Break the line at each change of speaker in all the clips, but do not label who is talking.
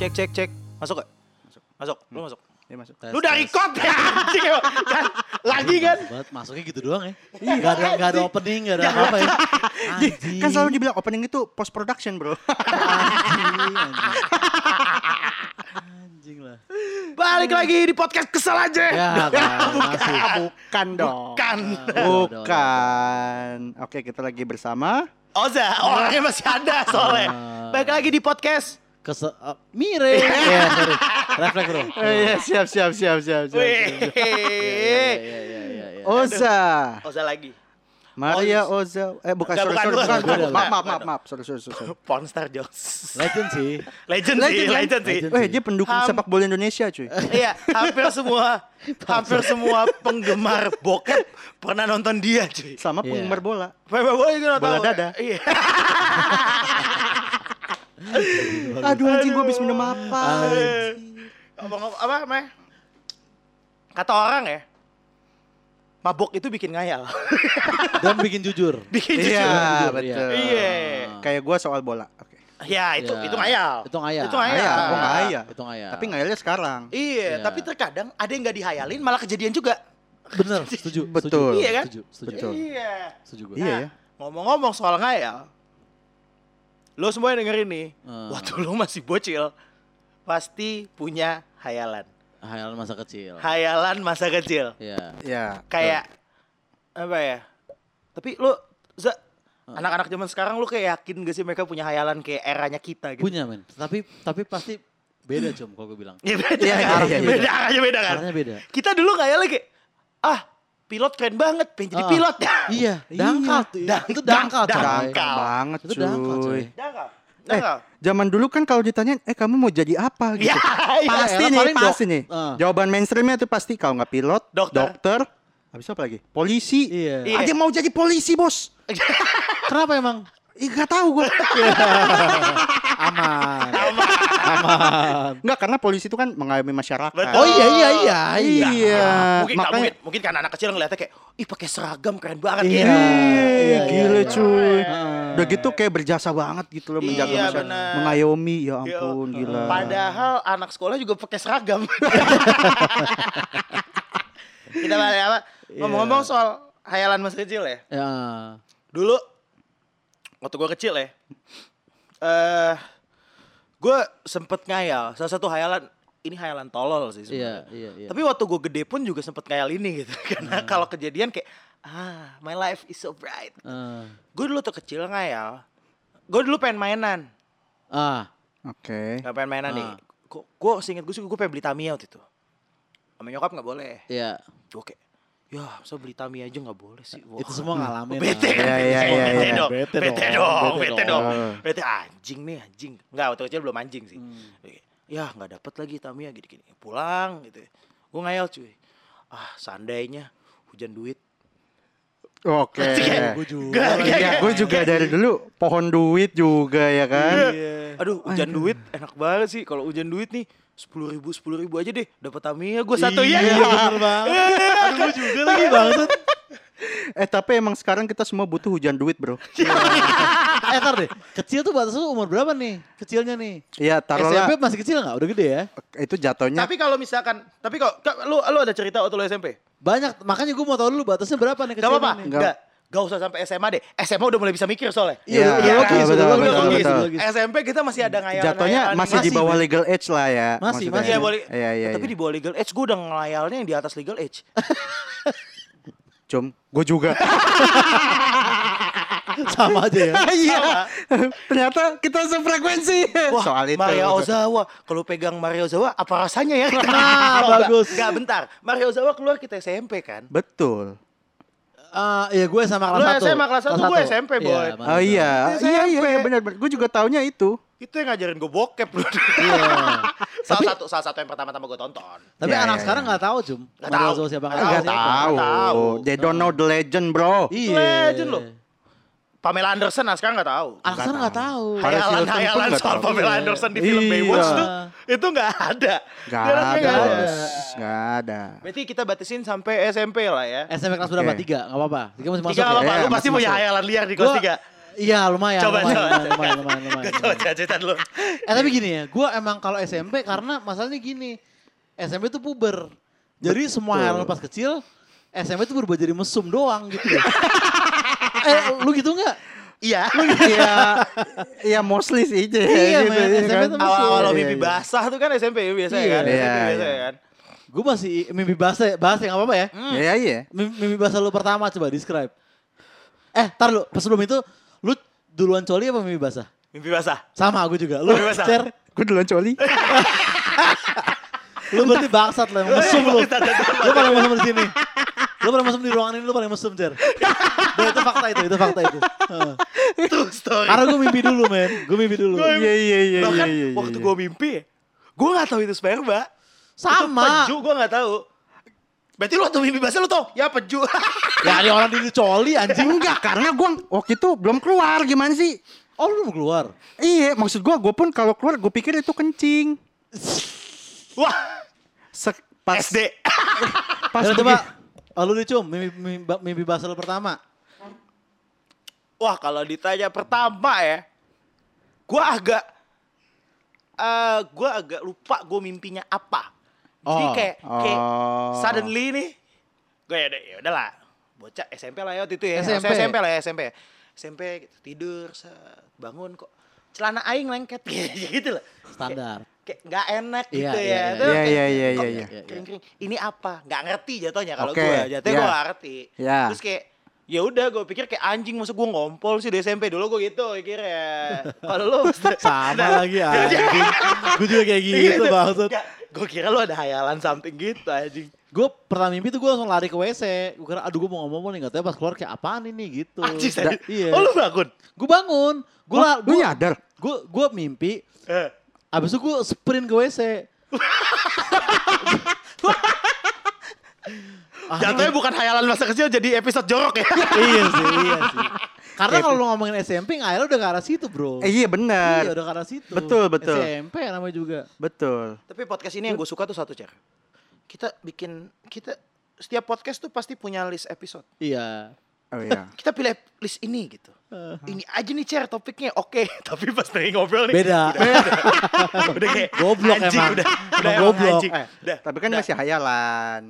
Cek cek cek. Masuk gak? Masuk. Masuk. Lu masuk.
Dia masuk.
Tes,
Lu udah
tes.
record ya anjing emang. Dan Lagi kan? Iya,
Buat masuknya gitu doang ya. Gak ada gak ada opening, gak ada apa-apa ya. Anjing.
Kan selalu dibilang opening itu post production bro.
anjing, anjing. Anjing lah.
Balik lagi di podcast kesel aja. Kan.
Ya, kan, masuk.
Bukan dong.
Bukan.
udah, udah,
Oh.
udah.
Bukan. Oke kita lagi bersama.
Oza, orangnya masih ada soalnya.
Ah.
Balik lagi di podcast.
Kese uh, mire.
Iya.
ya, sorry. Refleks bro.
Iya siap siap siap siap siap. siap.
Wih.
Ya, ya,
iya,
ya, ya, ya.
Oza.
Oza lagi.
Maria Oza. Eh bukan
Enggak,
sorry
bukan,
sorry
bukan,
bukan.
bukan.
bukan,
Maaf maaf maaf maaf. Sorry sorry sorry.
Pornstar Jokes.
Legend sih.
Legend, sih,
Legend, kan?
legend sih.
Legend.
Eh dia pendukung
Ham.
sepak bola Indonesia cuy.
Iya, hampir semua hampir semua penggemar bokep pernah nonton dia, cuy.
Sama
Iya.
penggemar bola.
Bola bola itu nonton.
Bola dada.
Iya.
Aduh anjing gue habis minum apa?
Ngomong apa, Meh? Kata orang ya, mabok itu bikin ngayal.
Dan bikin jujur.
bikin
Iya,
jujur.
betul.
Iya.
Kayak gue soal bola. Oke.
Ya, itu
Ya.
itu ngayal.
Itu ngayal.
Itu ngayal.
Ayah, gue nggak ayah.
Itu ngayal.
oh, Tapi ngayalnya sekarang.
Iya,
Iya.
tapi terkadang ada yang nggak dihayalin malah kejadian juga.
Bener, setuju.
Betul.
setuju,
Iya kan?
Setuju, setuju.
Betul.
Iya.
Setuju gue.
Iya ya.
Ngomong-ngomong soal ngayal, lo semua yang dengerin nih,
Hmm.
waktu lo masih bocil, pasti punya hayalan.
Hayalan masa kecil.
Hayalan masa kecil.
Iya.
Iya.
Kayak, apa ya, tapi lo, Za, anak-anak zaman sekarang lo kayak yakin gak sih mereka punya hayalan kayak eranya kita gitu?
Punya men. Tapi tapi pasti beda cum kalau gue bilang.
Ya beda,
Iya,
kan?
iya, iya,
beda, arahnya beda kan?
Caranya beda.
Kita dulu ngayalnya kayak, ah pilot keren banget, pengen jadi
Ah.
pilot.
Iya.
Iya.
Dangkal. tuh.
Dang-
itu dangkal. coy.
Dangkal banget
Itu dangkal
cuy.
coy.
Jangan,
Eh,
jangan.
zaman dulu kan kalau ditanya, eh kamu mau jadi apa gitu.
Ya, iya.
Pasti
elah,
nih,
paling
pasti
dok-
nih.
Ah.
Jawaban mainstreamnya itu pasti kalau nggak pilot,
Dokter.
dokter, habis apa lagi? Polisi.
Iya.
Iya.
Ada yang mau jadi polisi, Bos.
Kenapa emang?
Ih, nggak tahu gue.
Aman.
Iya.
Enggak, karena polisi itu kan mengayomi masyarakat.
Betul.
Oh iya iya iya iya.
Iya.
mungkin, nggak,
Makanya
mungkin, mungkin kan anak kecil ngeliatnya kayak, ih pakai seragam keren banget.
Iya.
gitu.
Iya,
Iya,
gila
iya.
cuy.
Heeh.
Udah gitu kayak berjasa banget gitu loh menjaga
Iya,
masyarakat.
benar.
Mengayomi, ya
Yo. uh,
ampun gila.
Gitu. Iya. Padahal anak sekolah juga pakai seragam. Kita balik apa?
Iya.
Ngomong-ngomong soal hayalan masa kecil ya.
Ya.
Dulu waktu gua kecil ya, eh gua sempet ngayal. Salah satu hayalan ini hayalan tolol sih
Iya
sebenarnya.
iya Hmm. iya.
Tapi waktu gue gede pun juga sempet ngayal ini gitu. Karena kalau kejadian kayak ah my life is so bright.
Ah.
Gue dulu tuh kecil ngayal. Gue dulu pengen mainan.
Ah.
Oke.
Gak pengen mainan
Ah.
nih. Gue seinget gue sih gue pengen beli Tamiya waktu itu. Sama nyokap gak boleh.
Iya.
Gue kayak, ya masa beli Tamiya aja gak boleh sih. Wah.
Itu semua ngalamin. ah.
Bete
lah.
kan?
Iya, iya,
Bete
iya, iya.
dong, bete dong, bete dong, bete dong. Ah.
dong.
Bete anjing nih anjing. Enggak, waktu kecil belum anjing sih. Ya nggak dapet lagi Tamiya gini-gini. Pulang gitu. Gue ngayal cuy. Ah seandainya hujan duit.
Oke.
Gue juga.
Gak, gak,
Iya, gue juga dari dulu pohon duit juga ya kan.
Iya. Aduh hujan duit enak banget sih. Kalau hujan duit nih sepuluh ribu sepuluh ribu aja deh dapat Tamiya gue satu ya.
Iya bener banget. Aduh gue juga lagi banget.
Eh tapi emang sekarang kita semua butuh hujan duit bro.
Eh ntar deh. Kecil tuh batas lu umur berapa nih? Kecilnya nih.
Iya taruhlah
SMP masih kecil nggak? Udah gede ya?
itu jatuhnya.
Tapi kalau misalkan, tapi kok kak, lu lu ada cerita waktu lu SMP?
Banyak. Makanya gue mau tahu dulu batasnya berapa nih
Gak
kecil
apa-apa,
nih.
Nggak.
gak. Gak usah sampai SMA deh. SMA udah mulai bisa mikir soalnya.
Iya,
iya, iya,
logis, udah
betul,
logis,
betul,
udah logis,
betul.
udah logis.
SMP kita masih ada ngayalan.
jatuhnya masih, di
masih,
bawah
Bro.
legal age lah ya.
Masih,
maksudnya.
masih.
Iya, boleh.
Iya iya.
Tapi
iya.
di bawah legal age gue udah ngelayalnya yang di atas legal age.
Cum, gue juga.
Sama aja ya.
Iya. Ternyata kita sefrekuensi.
Wah,
Soal itu.
Mario Ozawa. Kalau pegang Mario Ozawa, apa rasanya ya?
Nah,
Kalau nggak-
bagus.
nggak, bentar. Mario Ozawa keluar kita SMP kan?
Betul.
Ah, Iya gue sama kelas
Lu
1.
SMA kelas satu, gue SMP, boy.
Oh iya,
Itu
iya iya,
SMP.
iya benar benar. Gue juga taunya itu.
Itu yang ngajarin gue bokep. Bro. salah satu salah satu yang pertama-tama gue tonton.
Iya. Tapi
Iya,
anak
iya,
sekarang
iya.
nggak tahu cum.
Nggak
Mario
tahu.
Ozawa siapa nggak
Nggak
Enggak
siapa.
tahu.
tahu.
They don't know the legend, bro.
Iya.
Legend loh. Pamela Anderson nah sekarang nggak tahu.
Ah,
Anak sekarang nggak tahu.
Harus
Hayalan-hayalan
Hilton pun nggak
soal
tahu.
Pamela
Iya.
Anderson di film
Iya.
Baywatch tuh itu nggak ada.
Gak
Dia anaknya
ada,
nggak
bos. Gak ada.
Berarti kita batasin sampai SMP lah ya.
SMP kelas berapa?
Oke.
Tiga, nggak apa-apa. Tiga masih Eh, masuk
Tiga nggak
ya.
apa-apa, lu
Iya,
pasti
masih
punya
masuk.
hayalan liar di kelas
Gua-
tiga.
Iya lumayan.
Coba,
lumayan,
coba,
lumayan, lumayan, lumayan, lumayan.
Coba cerita dulu.
Eh tapi gini ya, gue emang kalau SMP karena masalahnya gini, SMP tuh puber. Jadi semua
Betul.
hal pas kecil, SMP tuh berubah jadi mesum doang gitu. ya. eh lu gitu nggak? gitu
Iya.
Iya, iya mostly sih. Iya,
Iya,
gitu,
men,
iya
SMP
kan?
tuh
Awal-awal lo
Iya,
mimpi
iya.
basah tuh kan SMP biasanya
Iya.
kan. SMP
Iya,
biasanya
iya.
kan.
Gue masih mimpi bahasa, bahasa nggak apa-apa ya.
Iya, iya.
Mimpi, mimpi bahasa lu pertama coba describe. Eh tar lu, sebelum itu lu duluan coli apa mimpi basah?
Mimpi basah.
Sama aku juga. Lu
Mimpi basah.
share,
Gue duluan coli.
lu berarti bangsat lah, emang mesum lu. Lu paling mesum di sini. Lu paling mesum di ruangan ini, lu paling mesum, Cer. Dan itu fakta itu, itu fakta itu. Heeh.
True story.
Karena gue mimpi dulu men, gue mimpi dulu.
Iya, iya, iya, iya.
Bahkan
iya, iya,
waktu
iya.
gue mimpi, gue gak tahu itu sperma.
Sama.
Itu peju gue gak tahu. Berarti lu waktu mimpi basah lu tau, ya peju.
Ya ada orang diri coli anjing.
Enggak, karena gue waktu itu belum keluar gimana sih?
Oh lu mau keluar?
Iya, maksud gue, gue pun kalau keluar gue pikir itu kencing.
Wah,
Sek- pas
SD.
pas
Coba, coba.
pergi-
Oh, lu dicum, mimpi, mimpi, mimpi basah lu pertama.
Wah, kalau ditanya pertama ya, gue agak eh gue agak lupa gue mimpinya apa. Jadi
Oh,
kayak, kayak
oh.
suddenly nih, gue ya udah- ya udahlah, bocah SMP lah ya waktu itu ya,
SMP.
Saya SMP lah ya SMP, SMP gitu, tidur, set, bangun kok celana aing lengket gitu lah.
Standar.
Kayak nggak enak
Iya,
gitu
iya,
ya.
iya.
Tuh
Iya,
kayak,
iya, iya,
kok
iya,
iya.
Kering-kering. Ini apa? Nggak ngerti jatuhnya kalau
Oke,
gue. Jatuhnya gue
iya.
nggak ngerti.
Iya.
Terus kayak ya udah gue pikir kayak anjing masa gue ngompol sih di SMP dulu gue gitu pikirnya. Kalau lu
Sama lagi anjing. gue juga kayak
Iya,
gitu maksud.
Gue kira lu ada hayalan something gitu anjing.
Gue pertama mimpi tuh gue langsung lari ke WC. Gue kira aduh gue mau ngomong nih, gak tau pas keluar kayak apaan ini gitu.
Anjing
Da-
tadi. Oh
Iya.
lu Oh, bangun.
Gue bangun. Gue
Wah, lu nyadar.
gue gue mimpi.
Eh,
Abis itu gue sprint ke WC. Ah,
Jatuhnya bukan hayalan masa kecil jadi episode jorok ya.
iya sih, iya sih. Karena kalau lu ngomongin SMP, ngayal udah ke arah situ bro.
Eh, iya
Iya
benar.
udah ke arah situ.
Betul, betul.
SMP namanya juga.
Betul.
Tapi podcast ini yang gue suka tuh satu cara. Kita bikin kita setiap podcast tuh pasti punya list episode.
Iya.
Oh iya.
Kita pilih list ini gitu.
Eh,
ini aja nih cer topiknya oke tapi pas dari ngobrol nih
Beda.
udah, udah kayak
Goblok
anjing,
emang.
udah
Emang
udah emang
goblok.
anjing.
Eh,
udah
Tapi kan masih hayalan.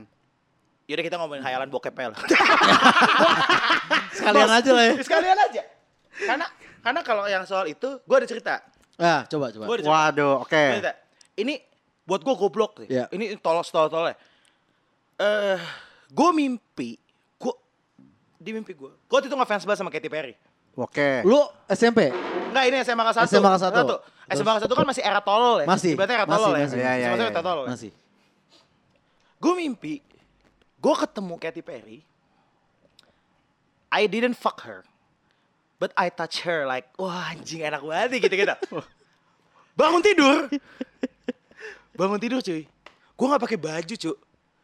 yaudah kita ngomongin khayalan bokep ya. aja lah
Sekalian aja lah ya.
sekalian aja karena karena kalau yang soal itu gue ada cerita
Ah, coba coba.
gue ada cerita,
Waduh, oke.
Gua ada cerita. ini buat gue goblok sih
Iya.
ini tolos tol tolol eh gue mimpi gue di mimpi gue gue waktu itu ngefans banget sama Katy Perry
Oke.
Lu SMP?
Enggak ini SMA kelas 1
SMA kelas satu.
SMA kelas 1 kan masih era tolol ya
Masih,
Ibaratnya era
masih,
tolol ya
masih,
Iya, iya,
Masih
iya,
era
iya.
tolol ya.
Masih.
Gue mimpi, gue ketemu Katy Perry. I didn't fuck her, but I touch her like, wah anjing enak banget nih," gitu-gitu. Bangun tidur, bangun tidur cuy. Gue nggak pakai baju cuy.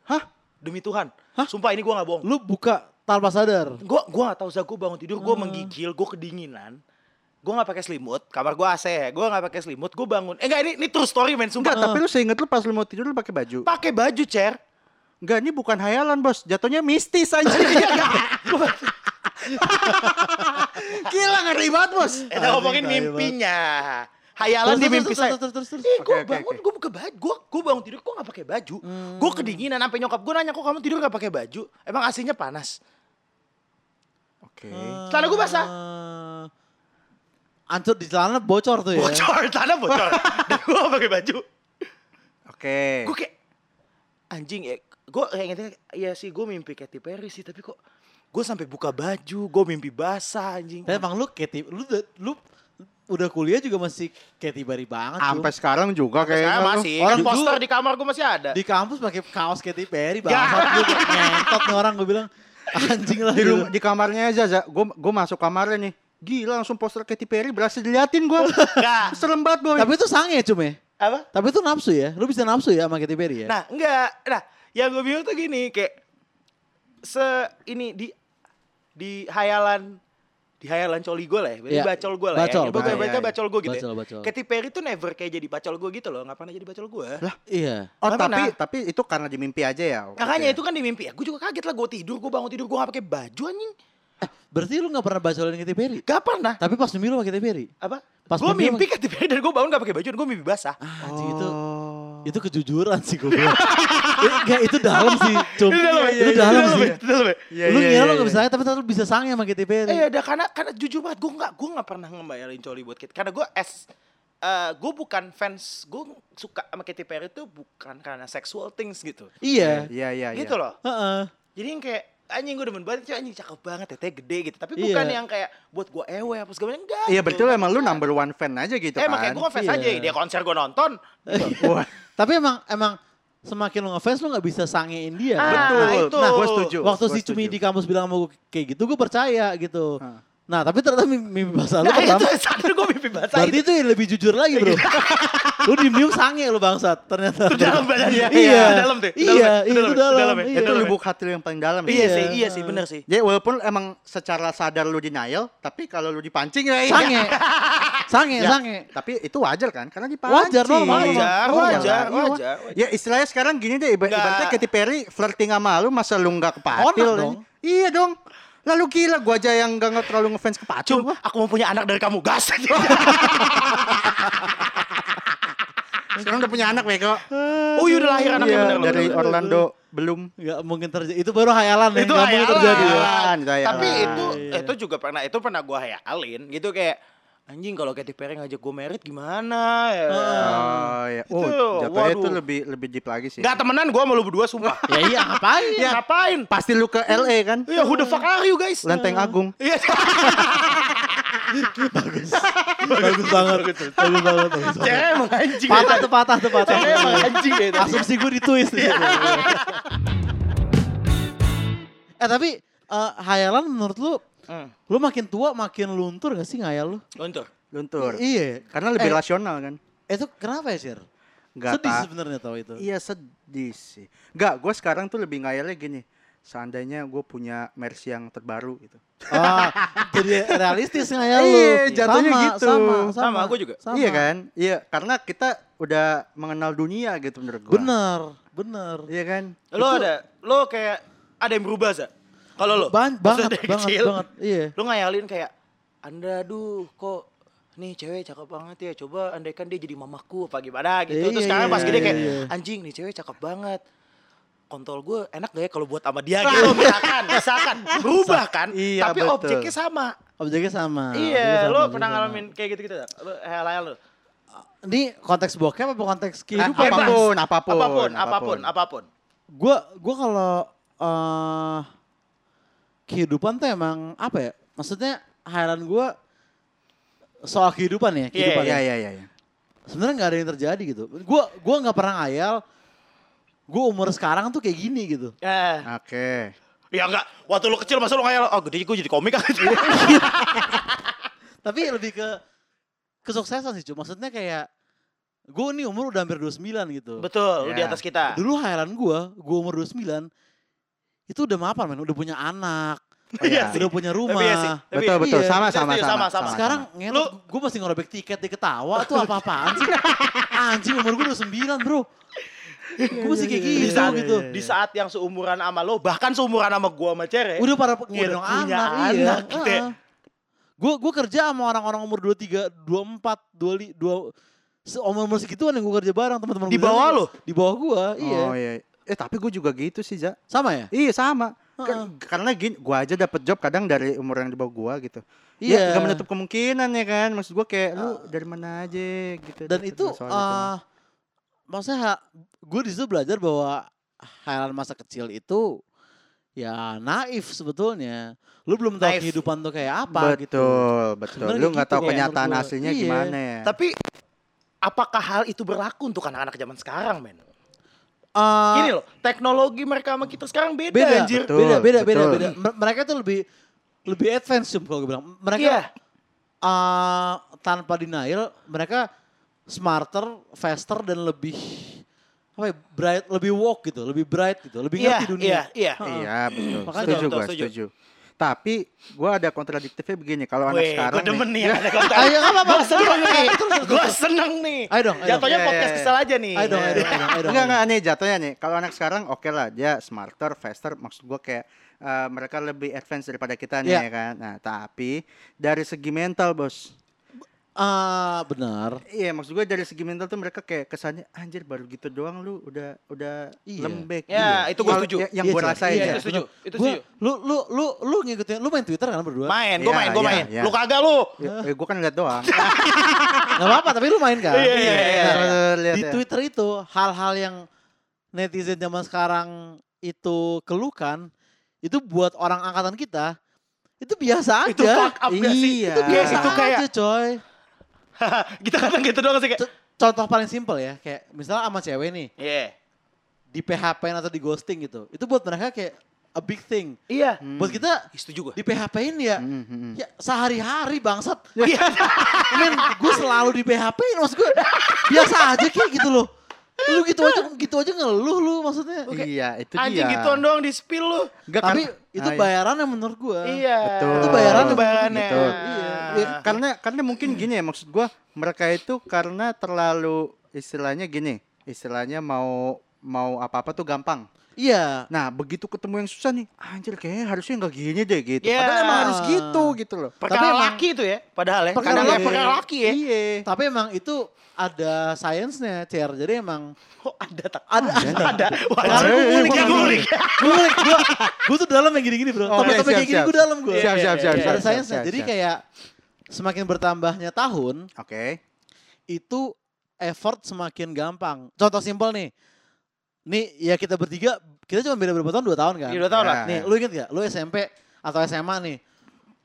Hah?
Demi Tuhan, sumpah ini gue nggak bohong.
Lu buka tanpa sadar.
Gue gua nggak tahu Zak, gue bangun tidur,
Hmm.
gue menggigil, gue kedinginan. Gue nggak pakai selimut, kamar gue AC ya. Gue nggak pakai selimut, gue bangun. Eh enggak ini, ini true story men,
Enggak,
sumpah.
tapi lu seinget lu pas lu mau tidur lu pakai baju.
Pakai baju cer.
Enggak, ini bukan hayalan, Bos. Jatuhnya mistis aja.
Iya,
Gila ngeri banget, Bos.
Kita Eh, ngomongin
tai banget.
mimpinya. Hayalan di mimpi saya.
Terus terus terus.
Ih,
Oke,
gue
oke,
bangun,
oke.
gue buka baju, gue gue bangun tidur, gue nggak pakai baju,
Hmm.
gue kedinginan sampai nyokap gue nanya kok kamu tidur nggak pakai baju, emang AC-nya panas.
Oke.
Celana gua basah.
Ancur di celana bocor tuh ya.
Bocor, tanah bocor, dan gue nggak pakai baju.
Oke.
Eh.
Gue kayak anjing ya, gue kayak ingetnya ya sih gue mimpi Katy Perry sih, tapi kok gue sampai buka baju, gue mimpi basah anjing.
Tapi emang lu Katy, lu udah- lu udah kuliah juga masih Katy Perry banget. Cum.
Sampai sekarang juga kayaknya.
Saya
lu. Oh,
masih,
orang
kan poster
dulu-
di kamar gue masih ada.
di kampus pakai kaos Katy Perry
Ya.
banget. Lu udah ngentot nih orang gue bilang anjing lah
di
gitu.
rumah di kamarnya aja Za. Gue gue masuk kamarnya nih. Gila langsung poster Katy Perry berhasil diliatin gue.
Nah.
Serem banget boy.
Tapi itu sange cum ya.
Apa?
Tapi itu nafsu ya. Lu bisa nafsu ya sama Katy Perry ya.
Nah, enggak. Nah, yang gue bingung tuh gini, kayak se ini di di hayalan di hayalan coli gue lah ya, berarti
Iya.
bacol gue lah
Bacol,
ya. Gue baca
bacol. Iya, iya.
bacol gue gitu.
Bacol,
ya.
bacol.
Katy Perry tuh never kayak jadi bacol gue gitu loh, nggak pernah jadi bacol gue.
Iya.
oh
Nggak
tapi
pernah.
tapi itu karena di mimpi aja ya.
Ya, Makanya itu kan di mimpi. Gue juga kaget lah, gue tidur, gue bangun tidur, gue gak pakai baju anjing.
Berarti lu gak pernah bacotin Katy Perry?
Gak pernah.
Tapi pas mimpi lu sama Katy Perry?
Apa?
Pas
gue
mimpi
mimpi Katy Perry dan gue bangun gak pakai baju dan gue mimpi basah.
Ah, anjing, itu
Oh.
Oh,
itu kejujuran sih gue bilang. Enggak, itu dalam sih. Cum.
Itu dalam,
Itu
iya, iya,
dalam
itu
sih.
dalam, itu dalam. Iya,
Lu
iya,
ngira
iya,
lu gak
iya.
bisa tapi ternyata lu bisa sange sama Katy Perry. Iya.
Eh ada karena karena jujur banget gue nggak gue nggak pernah ngebayalin coli buat Katy karena gue as eh, gue bukan fans gue suka sama Katy Perry itu bukan karena sexual things gitu
Iya.
Iya, iya, iya.
gitu loh
Heeh.
jadi yang kayak anjing gue demen banget cewek anjing cakep banget teteh gede gitu tapi
Iya.
bukan yang kayak buat gue ewe apa segala macam enggak gitu.
Iya betul emang lu number one fan aja gitu
eh
kan.
makanya gue ngefans
Iya.
aja dia konser gue nonton Iya.
Wah,
Tapi emang emang semakin lu ngefans lu gak bisa sangein
Ah,
dia. kan?
betul.
itu.
Nah, gue setuju.
Waktu
Gua
si Cumi
setuju.
di kampus bilang sama gue kayak gitu, gue percaya gitu.
Ah.
Nah, tapi ternyata mimpi, mimpi basah lu
nah itu
pertama.
saat itu gue mimpi basah
Berarti
itu
itu yang lebih jujur lagi, bro. lu diem-diem sange lu bangsat, ternyata.
Itu dalam badan dia.
Iya, iya.
Itu dalam tuh. Itu
Iya,
dalam, itu
itu
dalam, itu
dalam.
dalam,
iya.
itu
dalam.
lubuk hati lu yang paling dalam.
iya
ya.
sih iya sih bener sih
Ya walaupun emang secara sadar lu denial, tapi kalau lu dipancing ya
Iya.
Sange. Sange,
Ya,
sange.
Tapi itu wajar kan? Karena dipancing.
Wajar,
wajar
normal, normal.
wajar
Iya, wa-
wajar
Ya istilahnya sekarang gini deh, iba-
Nggak.
ibaratnya Katy Perry flirting sama lu masa lu nggak kepatil.
Onak dong.
Iya dong. Lalu gila gua aja yang gak terlalu ngefans kepatil
Cum,
gua.
aku mau punya anak dari kamu. Gas aja.
Ah, Sekarang udah punya anak Beko.
oh, iya udah lahir anaknya
Iya,
bener.
dari
bener.
Orlando belum.
Gak mungkin terjadi. Itu baru hayalan
itu
yang nggak mungkin
hayalan.
terjadi. ya.
Hayalan, itu hayalan.
Tapi itu
Iya.
itu juga pernah itu pernah gua hayalin gitu kayak anjing kalau Katy Perry ngajak gue merit gimana ya.
Oh ya. Oh,
Itu,
jatuhnya itu
waduh.
lebih lebih deep lagi sih.
Nggak temenan gua sama lu berdua sumpah.
Ya iya, ngapain?
ya. Ngapain?
Pasti lu ke LA kan?
Iya, who the fuck are you guys?
Lenteng Agung.
Iya.
bagus banget. bagus banget. Bagus banget.
Cewek emang anjing.
Patah tuh patah tuh patah.
Cewek emang anjing ya, deh. itu.
Asumsi gue ditulis di situ. eh tapi eh, hayalan menurut lu
Hmm.
lu makin tua makin luntur gak sih ngayal lu?
Luntur.
Luntur.
Iya.
Karena lebih
Eh,
rasional kan.
Itu kenapa ya, Sir?
Nggak
Sedih
ta-
sebenarnya tau itu.
Iya sedih sih. Enggak, gue sekarang tuh lebih ngayalnya gini. Seandainya gue punya Mercy yang terbaru gitu.
Ah, jadi realistis ngayal lu.
Iya, jatuhnya
sama,
gitu.
Sama, sama,
Sama, gua juga.
Sama.
Iya kan? Iya, karena kita udah mengenal dunia gitu menurut gue.
Bener, bener.
Iya kan?
Lo ada lo kayak ada yang berubah, Za? Kalau lo? Maksudnya
Ban- banget,
dari
banget,
kecil.
banget. Iya.
Lo ngayalin kayak, anda duh kok nih cewek cakep banget ya coba andaikan dia jadi mamaku apa gimana gitu
Iya,
terus sekarang pas
iya,
gede
iya,
kayak
iya.
anjing nih cewek cakep banget kontol gue enak gak ya kalau buat sama dia gitu misalkan misalkan berubah kan
Iya,
tapi
betul.
objeknya sama
Objeknya sama.
iya lo
objeknya sama,
pernah
objeknya sama.
ngalamin kayak gitu gitu lo hayal lo
Ini konteks bokep apa konteks kehidupan?
Bebas.
Ah, apapun, apapun,
apapun apapun
apapun.
apapun
Gua gua kalau eh kehidupan tuh emang apa ya? Maksudnya hairan gua soal kehidupan ya, kehidupan.
Iya,
ya.
iya, iya. iya.
Sebenarnya nggak ada yang terjadi gitu. Gua gua nggak pernah ngayal gue umur sekarang tuh kayak gini gitu.
eh
Oke.
ya enggak waktu lo kecil masa lo ngayal oh gede gue jadi komik aja
Tapi lebih ke kesuksesan sih, cuma maksudnya kayak gue nih umur udah hampir 29 gitu.
Betul, lu di
Ya.
atas kita.
Dulu hairan gue, gue umur 29, itu udah mapan men, udah punya anak,
Iya
udah punya rumah.
Tapi iya sih, tapi
Betul,
iya.
betul. Sama,
Kita
sama,
setuju,
sama.
sama, sama.
Sekarang ngentot,
Lu-
gue masih ngorobek tiket di ketawa tuh apa-apaan sih. Anjing umur gue udah 9 bro.
Iya,
Gue masih kayak
di
gini
saat
gitu.
di saat yang seumuran sama lo, bahkan seumuran sama gua sama Cere.
Udah para penggendong
iya. punya
anak,
anak
iya.
gitu ya.
Gue gue kerja sama orang-orang umur 23, 24, 25, 2 seumur umur segituan yang gue kerja bareng teman-teman
Di
gua
bawah
sana.
lu?
Di bawah gue, iya.
Oh iya. Eh tapi gue juga gitu sih, Ja.
Sama ya?
Iya sama.
Heeh.
Kan- Karena gini, gua aja dapat job kadang dari umur yang di bawah gua gitu.
Iya. Ah.
Ya, gak menutup kemungkinan ya kan. Maksud gua kayak lu dari mana aja gitu.
Dan
Dapet
itu
soal
eh maksudnya gue disitu belajar bahwa hayalan masa kecil itu ya naif sebetulnya. Lu belum tahu
Naif.
kehidupan tuh kayak apa gitu.
betul, betul.
Sebenarnya
Lu nggak
gitu
tahu
kayak
kenyataan
menurut gua.
aslinya
Iya.
gimana ya.
Tapi apakah hal itu berlaku untuk anak-anak zaman sekarang, men?
Eh,
Gini loh, teknologi mereka sama kita sekarang beda,
beda,
anjir.
Betul.
beda, beda, beda,
betul.
beda. Mer- Mereka tuh lebih lebih advance Jum, kalau gue bilang. Mereka
Iya.
eh, tanpa denial, mereka smarter, faster dan lebih apa ya, bright, lebih woke gitu, lebih bright gitu, lebih
Iya,
ngerti dunia.
iya, iya.
Heeh.
Iya, betul.
Makanya
setuju
betul,
gua,
setuju.
setuju. Tapi gua ada kontradiktifnya begini kalau anak
Weh,
sekarang
gua demen nih. anak
Ah, iya kan? Ayo, nggak apa-apa.
Gua seneng
Terus,
nih.
terus, terus,
Gua
terus.
seneng nih.
Ayo dong, ayo
Jatuhnya
dong. Iya,
podcast
iya, iya.
kesel aja nih.
Ayo dong, ayo dong, ayo dong, ayo dong.
Enggak enggak nih jatuhnya nih. Kalau anak sekarang oke lah dia smarter, faster maksud gua kayak eh, mereka lebih advance daripada kita nih
Iya.
ya kan. Nah, tapi dari segi mental, Bos.
Ah, benar.
Iya, maksud gue dari segi mental tuh mereka kayak kesannya anjir baru gitu doang lu udah udah
Iya.
lembek.
Ya, itu gue
Kalau-
setuju.
ya- Yang
Iya,
gue
Chan.
rasain
Iya,
ya.
itu setuju. Itu
Gua-
setuju.
Lu lu lu lu ngikutin, lu main Twitter kan berdua?
Main, gue
Iya,
main, gue
iya,
main.
iya.
Lu kagak lu.
Ya, gue kan lihat doang.
Gak apa-apa, tapi lu main kan?
Iya, iya, iya,
Nah,
iya. Lihat
Di
ya.
Twitter itu hal-hal yang netizen zaman sekarang itu keluhkan, itu buat orang angkatan kita itu biasa aja.
Itu fuck up gak sih?
Iya.
Itu biasa
Itu kayak-
aja, coy.
kita kadang gitu doang sih kayak.
Co- Contoh paling simpel ya, kayak misalnya sama cewek nih,
Iya.
di PHP atau di ghosting gitu. Itu buat mereka kayak a big thing.
Iya.
Buat kita
Ih, Setuju gue.
di PHP-in ya,
Hmm, hmm, hmm.
ya sehari-hari bangsat.
Ya.
Iya.
Men, gue selalu di PHP maksud gue biasa aja kayak gitu loh. Lu gitu aja gitu aja ngeluh lu maksudnya.
Iya, itu dia.
Anjing
gitu
gituan doang di spill lu.
Enggak,
Tapi
karena-
itu
Ah, iya.
bayaran yang menurut gue.
Iya.
Betul.
Itu bayarannya.
Itu bayarannya.
Betul.
Iya.
Iya, karena karena mungkin gini ya maksud gua mereka itu karena terlalu istilahnya gini istilahnya mau mau apa apa tuh gampang
Iya.
nah begitu ketemu yang susah nih anjir kayaknya harusnya nggak gini deh gitu
Iya.
padahal emang harus gitu gitu loh
Perkara
emang-
laki itu ya. Padahal ya.
Perkara
Kadang ya
laki.
perkara laki ya.
iya
Tapi emang itu ada sainsnya, Cer. Jadi emang
Oh ada tak?
ada
Ada. Wah,
Oh,
Ada.
gue
iya.
ngulik
Ada.
ya ngulik.
gue gue gue tuh dalam yang gini-gini bro. Tapi
Oke,
tapi
Oh, iya, siap,
kayak gini
siap.
gue dalam gue.
siap siap siap,
Iya,
siap,
Ada
siap,
sainsnya.
siap,
Jadi
siap.
kayak semakin bertambahnya tahun
oke
itu effort semakin gampang. Contoh simpel nih. Nih ya kita bertiga, kita cuma beda berapa tahun? Dua tahun kan?
Iya, dua tahun lah.
Nah.
Nih, lu inget gak? Lu SMP atau SMA nih.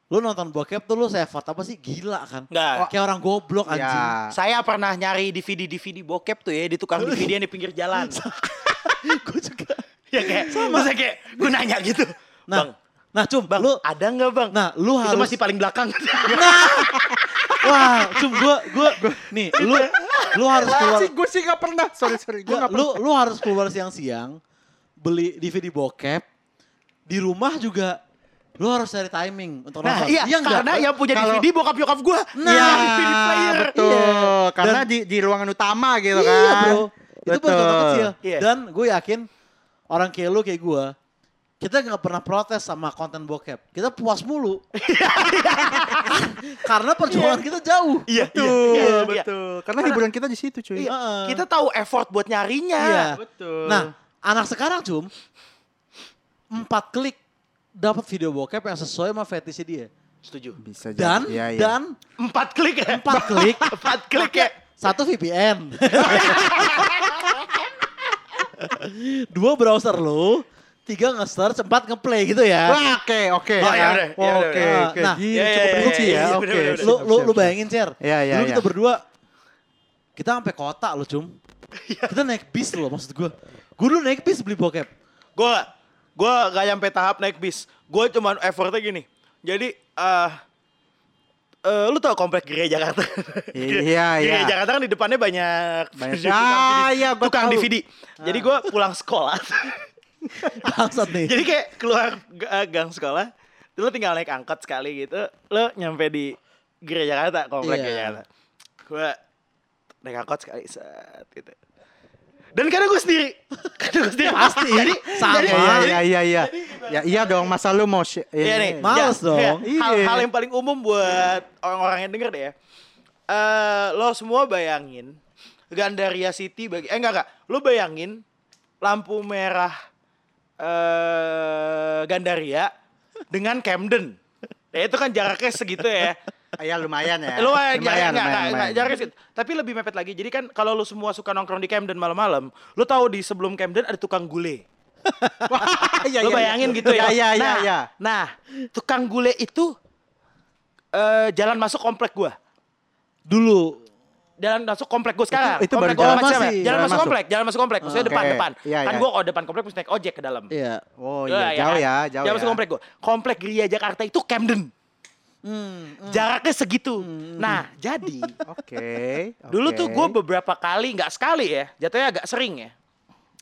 Lu nonton bokep tuh lu sefort apa sih? Gila kan?
Enggak.
Kayak orang goblok anjing.
ya
Saya pernah nyari DVD-DVD bokep tuh ya di tukang DVD yang di pinggir jalan.
Gua juga.
ya kayak, sama saya kayak, gue nanya gitu.
Nah,
bang,
nah cum,
bang,
lu
ada nggak bang?
nah lu
itu
harus
masih paling belakang.
Nah. Wah, cum gua gua nih lu lu harus keluar
sih gue sih gak pernah sorry sorry gue
Gua-
gak
lu
pernah
lu harus keluar siang-siang beli DVD bokep di rumah juga lu harus cari timing untuk
nah,
nonton.
iya,
nggak?
karena yang punya
Kalau-
DVD bokap nyokap gue.
Nah,
DVD player.
Iya, betul
Iya.
karena
Dan-
di di ruangan utama gitu kan
Iya bro, itu baru contoh
Betul.
kecil.
Iya.
Dan gue yakin orang kayak lu kayak gue, kita nggak pernah protes sama konten bokep. Kita puas mulu. Karena perjuangan kita jauh.
Iya,
betul
iya, iya.
betul karena hiburan kita di situ cuy
Iya,
Heeh.
Kita tahu effort buat nyarinya.
Iya.
betul
Nah, anak sekarang cum, empat klik dapat video bokep yang sesuai sama fetishnya dia.
Setuju.
bisa jadi
Dan
Ya,
Iya, iya.
dan
Empat klik ya.
empat klik
Empat klik ya.
satu VPN. Dua browser lu, tiga nge-search, empat nge-play gitu ya.
Wah, Oke, oke.
Oh, ya udah, ya udah,
Oke,
ya
udah.
oke.
Nah,
Gini
ya, ya,
cukup
ya,
rinci
ya,
ya.
ya,
Oke.
bener, bener,
Lu lu lu bayangin, Cer.
Ya,
Iya, iya,
Dulu
iya.
kita berdua kita sampai kota loh, Cum.
Iya.
Kita naik bis loh maksud gua. Gua dulu naik bis beli bokep.
Gue gue gak nyampe tahap naik bis. Gue cuman effortnya gini. Jadi eh eh, lu tau komplek Gereja Jakarta?
Iya, iya.
Gereja Jakarta kan di depannya banyak,
Banyak-
tukang,
Ah,
DVD,
iya, gua
tukang
tahu. Ah.
DVD. Jadi gue pulang sekolah.
Bangsat nih.
Jadi kayak keluar g- eh, gang sekolah, lu tinggal naik angkot sekali gitu, lu nyampe di Gereja Jakarta, komplek
Iya.
Gereja Jakarta. Gue naik angkot sekali, set gitu. Dan karena gue sendiri, karena gue sendiri
Pasti,
Jadi,
sama.
jadi-
Iya,
jadi-
iya, iya, iya. Ya, iya dong, masa lu mau share.
Iya nih,
Ma- Males
ya,
dong.
ya, Hal,
Iya.
hal yang paling umum buat orang-orang yang denger deh ya. Eh, lo semua bayangin Gandaria City bagi eh enggak enggak, lo bayangin lampu merah eh Gandaria dengan Camden. Ya itu kan jaraknya segitu ya.
Ya lumayan Iya, ya.
Lu eh, jaraknya enggak, enggak, enggak, jaraknya segitu. Tapi lebih mepet lagi. Jadi kan kalau lo semua suka nongkrong di Camden malam-malam, lo tahu di sebelum Camden ada tukang gule.
Iya,
Lo
iya,
bayangin
iya.
gitu ya.
Iya, iya,
nah,
iya.
Nah, tukang gule itu eh jalan masuk komplek gua.
Dulu
Jalan masuk komplek gua sekarang.
Itu- itu baru
komplek gua
jalan
sama siapa?
masih.
Jalan,
Jalan
masuk
masuk.
komplek, jalan masuk komplek. Maksudnya depan,
Oke.
depan.
Iya,
kan
iya.
gua kalau depan komplek mesti naik ojek ke dalam.
iya.
Oh
Eh,
iya, jauh
kan?
ya, jauh
Jalan
ya.
masuk komplek gua. Komplek Gria Jakarta itu Camden.
Hmm,
Jaraknya
Hmm,
segitu. Nah, jadi
Oke.
dulu tuh
Oh, oke.
gua beberapa kali, nggak sekali ya, jatuhnya agak sering ya.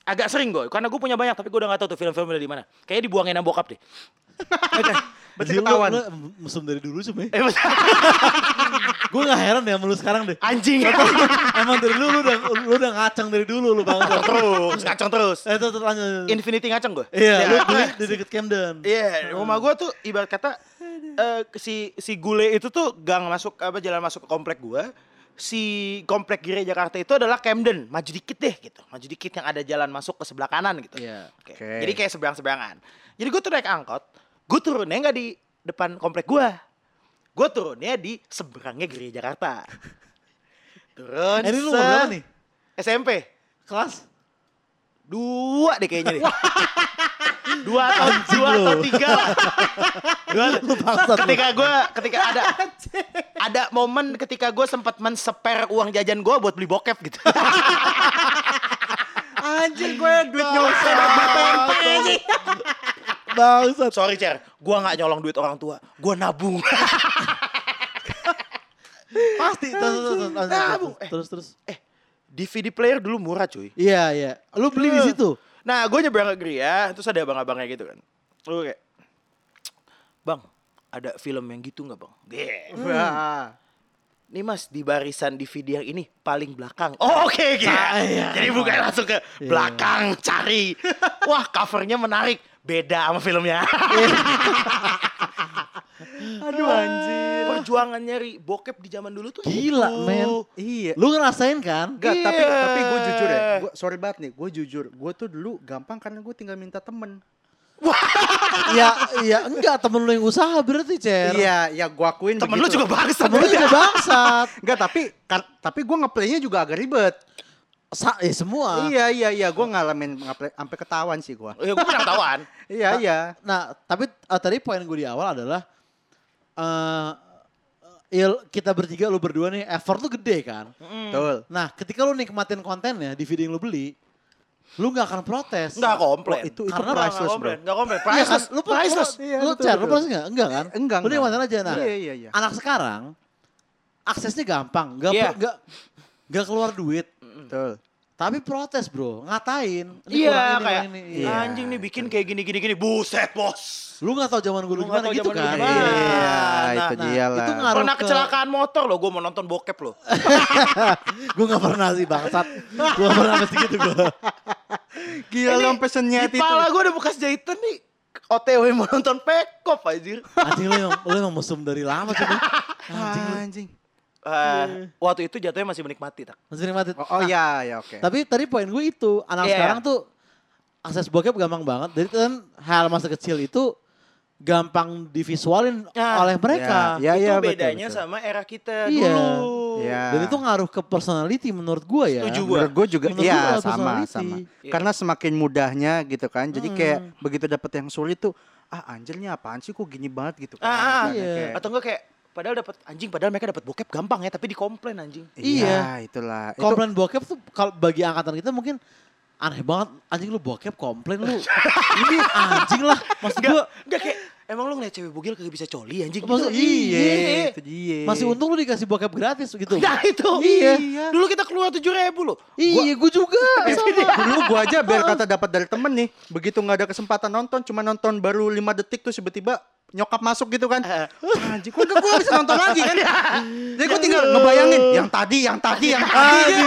Agak sering gue, karena gue punya banyak, tapi gue udah gak tahu tuh film-filmnya di mana. Kayaknya dibuangin sama bokap deh. Berarti
Gila,
ketahuan.
Ah, lu mesum dari dulu sih,
Eh, mas-
Gue gak heran ya sama lu sekarang deh.
anjing.
Emang dari dulu lu udah lu udah ngacang dari dulu lu bang.
terus, kacang terus.
Eh terus terus lanjut. lanjut.
Infinity ngacang gue.
Iya, Hmm. lu beli di deket Camden.
Iya, rumah gua tuh ibarat kata eh, si si Gule itu tuh gang masuk apa jalan masuk ke komplek gua. Si komplek Gire Jakarta itu adalah Camden, maju dikit deh gitu. Maju dikit yang ada jalan masuk ke sebelah kanan gitu.
Iya.
Oke.
Oke.
Jadi kayak seberang-seberangan. Jadi gua tuh naik angkot, gua turunnya nggak di depan komplek gua. Gua turunnya di seberangnya Gire Jakarta. Turun.
Eh, Ini lu
set.
berapa nih?
SMP.
Kelas?
Dua deh kayaknya deh. dua atau
Anjing
dua atau
lu.
tiga lah. Dua,
bangsat lu.
ketika gue ketika ada ada momen ketika gue sempat men-spare uang jajan gue buat beli bokep gitu.
Anjir gue duit nyosor.
Bangsat.
Sorry Cer, gue nggak nyolong duit orang tua, gue nabung.
Pasti. Terus terus terus, terus,
Nah,
terus,
Bu. Eh.
terus terus.
DVD player dulu murah cuy.
Iya iya. Lu beli di situ.
Nah gue nyebrang ke Gria, terus ada abang-abangnya gitu kan. Gue kayak, bang ada film yang gitu nggak bang? Deh.
Wah.
Hmm. Nih mas di barisan DVD yang ini paling belakang. Oh oke gitu.
Ah, iya.
Jadi bukan langsung ke belakang cari. Wah covernya menarik. Beda sama filmnya.
Aduh anjir.
Perjuangan nyari bokep di zaman dulu tuh.
Iya. Gila,
gitu.
men.
Iya.
Lu ngerasain kan?
Enggak, tapi
Iya.
tapi gue jujur ya. Gua, sorry banget nih, gue jujur. Gue tuh dulu gampang karena gue tinggal minta temen.
Iya iya. Enggak temen lu yang usaha berarti Cer.
Iya, ya gue akuin
Temen lu
begitu.
juga bangsa.
Gitu. Temen lu juga bangsat.
Enggak, tapi kar- tapi gue ngeplaynya juga agak ribet.
Sa eh, semua.
Ah.
Iya, iya, iya. Gue ngalamin ngeplay sampai ketahuan sih gue.
Ya gue pernah ketahuan.
Iya, iya.
Nah, tapi eh, tadi poin gue di awal adalah eh il, kita bertiga lu berdua nih effort lu gede kan.
Hmm.
Betul. Oh,
Nah, ketika lu nikmatin kontennya di video yang lu beli, lu nggak akan protes.
Enggak komplain.
Oh, itu itu
Karena
Enggak
priceless, Bro.
komplain. Enggak komplain.
Iya kan?
Priceless.
Lu priceless.
priceless.
Lu,
Iya,
lu,
betul,
Cer, lu
betul.
protes enggak? Enggak kan?
Enggak,
Lu
enggak.
nikmatin aja. Nah,
Iya, iya, iya.
anak sekarang aksesnya gampang. Nggak
Iya.
per- nggak nggak keluar duit.
Betul.
Tapi protes bro, ngatain.
Iya
Ini kurang ini,
kayak
kurang ini.
Iya.
anjing nih bikin kayak gini gini gini. Buset bos.
Lu gak tau zaman gue
Lu
dulu
nggak
gimana
tahu
gitu
zaman dulu
kan.
gimana.
Iya,
Nah,
itu
nah,
dia lah.
itu ngaruh.
Pernah
ke-
kecelakaan motor loh. Gue mau nonton bokep loh.
gue gak pernah sih bangsat. gue gak pernah mesti gitu gue.
Gila
Ini
lu sampai senyet
di
itu.
pala gue udah bekas jahitan nih. OTW mau nonton pekop anjir.
Anjing lu emang, lu emang mesum dari lama cuman. Anjing lu.
Anjing.
Eh, waktu itu jatuhnya masih menikmati tak.
Masih nikmatin.
Nah.
Oh, oh iya, ya oke.
Tapi tadi poin gue itu, anak
Iya.
sekarang tuh akses bokep gampang banget. Jadi kan hal masa kecil itu gampang divisualin
Ya.
oleh mereka.
Ya,
itu
ya, betul,
bedanya
betul.
sama era kita
Iya.
dulu.
Iya.
Dan itu ngaruh ke personality menurut gue ya.
Setuju.
Menurut gue juga
Menurut gua
iya
adalah
sama
personality.
sama.
Iya.
Karena semakin mudahnya gitu kan. Jadi kayak begitu dapet yang sulit tuh ah anjirnya apaan sih kok gini banget gitu
Ah,
kan.
ah,
Makanya
iya.
kayak,
Atau enggak kayak padahal dapat anjing padahal mereka dapat bokep gampang ya tapi dikomplain anjing.
Iya, itulah. Itu
Komplain bokep tuh kalau bagi angkatan kita mungkin aneh banget. Anjing lu bokep komplain lu. Ini anjing lah. Maksud gue
Enggak, enggak kayak emang lu ngeliat cewek bugil kagak bisa coli anjing.
Maksud-
Gitu.
iya, itu dia.
masih untung lu dikasih bokep gratis gitu.
Nah itu.
Iya.
Dulu kita keluar 7 ribu loh.
Iya, gue juga. sama.
dulu gua aja biar kata dapat dari temen nih begitu nggak ada kesempatan nonton cuma nonton baru 5 detik tuh tiba-tiba nyokap masuk gitu kan
Eh.
anjing kok gue bisa nonton lagi kan jadi gue tinggal ngebayangin yang tadi yang tadi yang tadi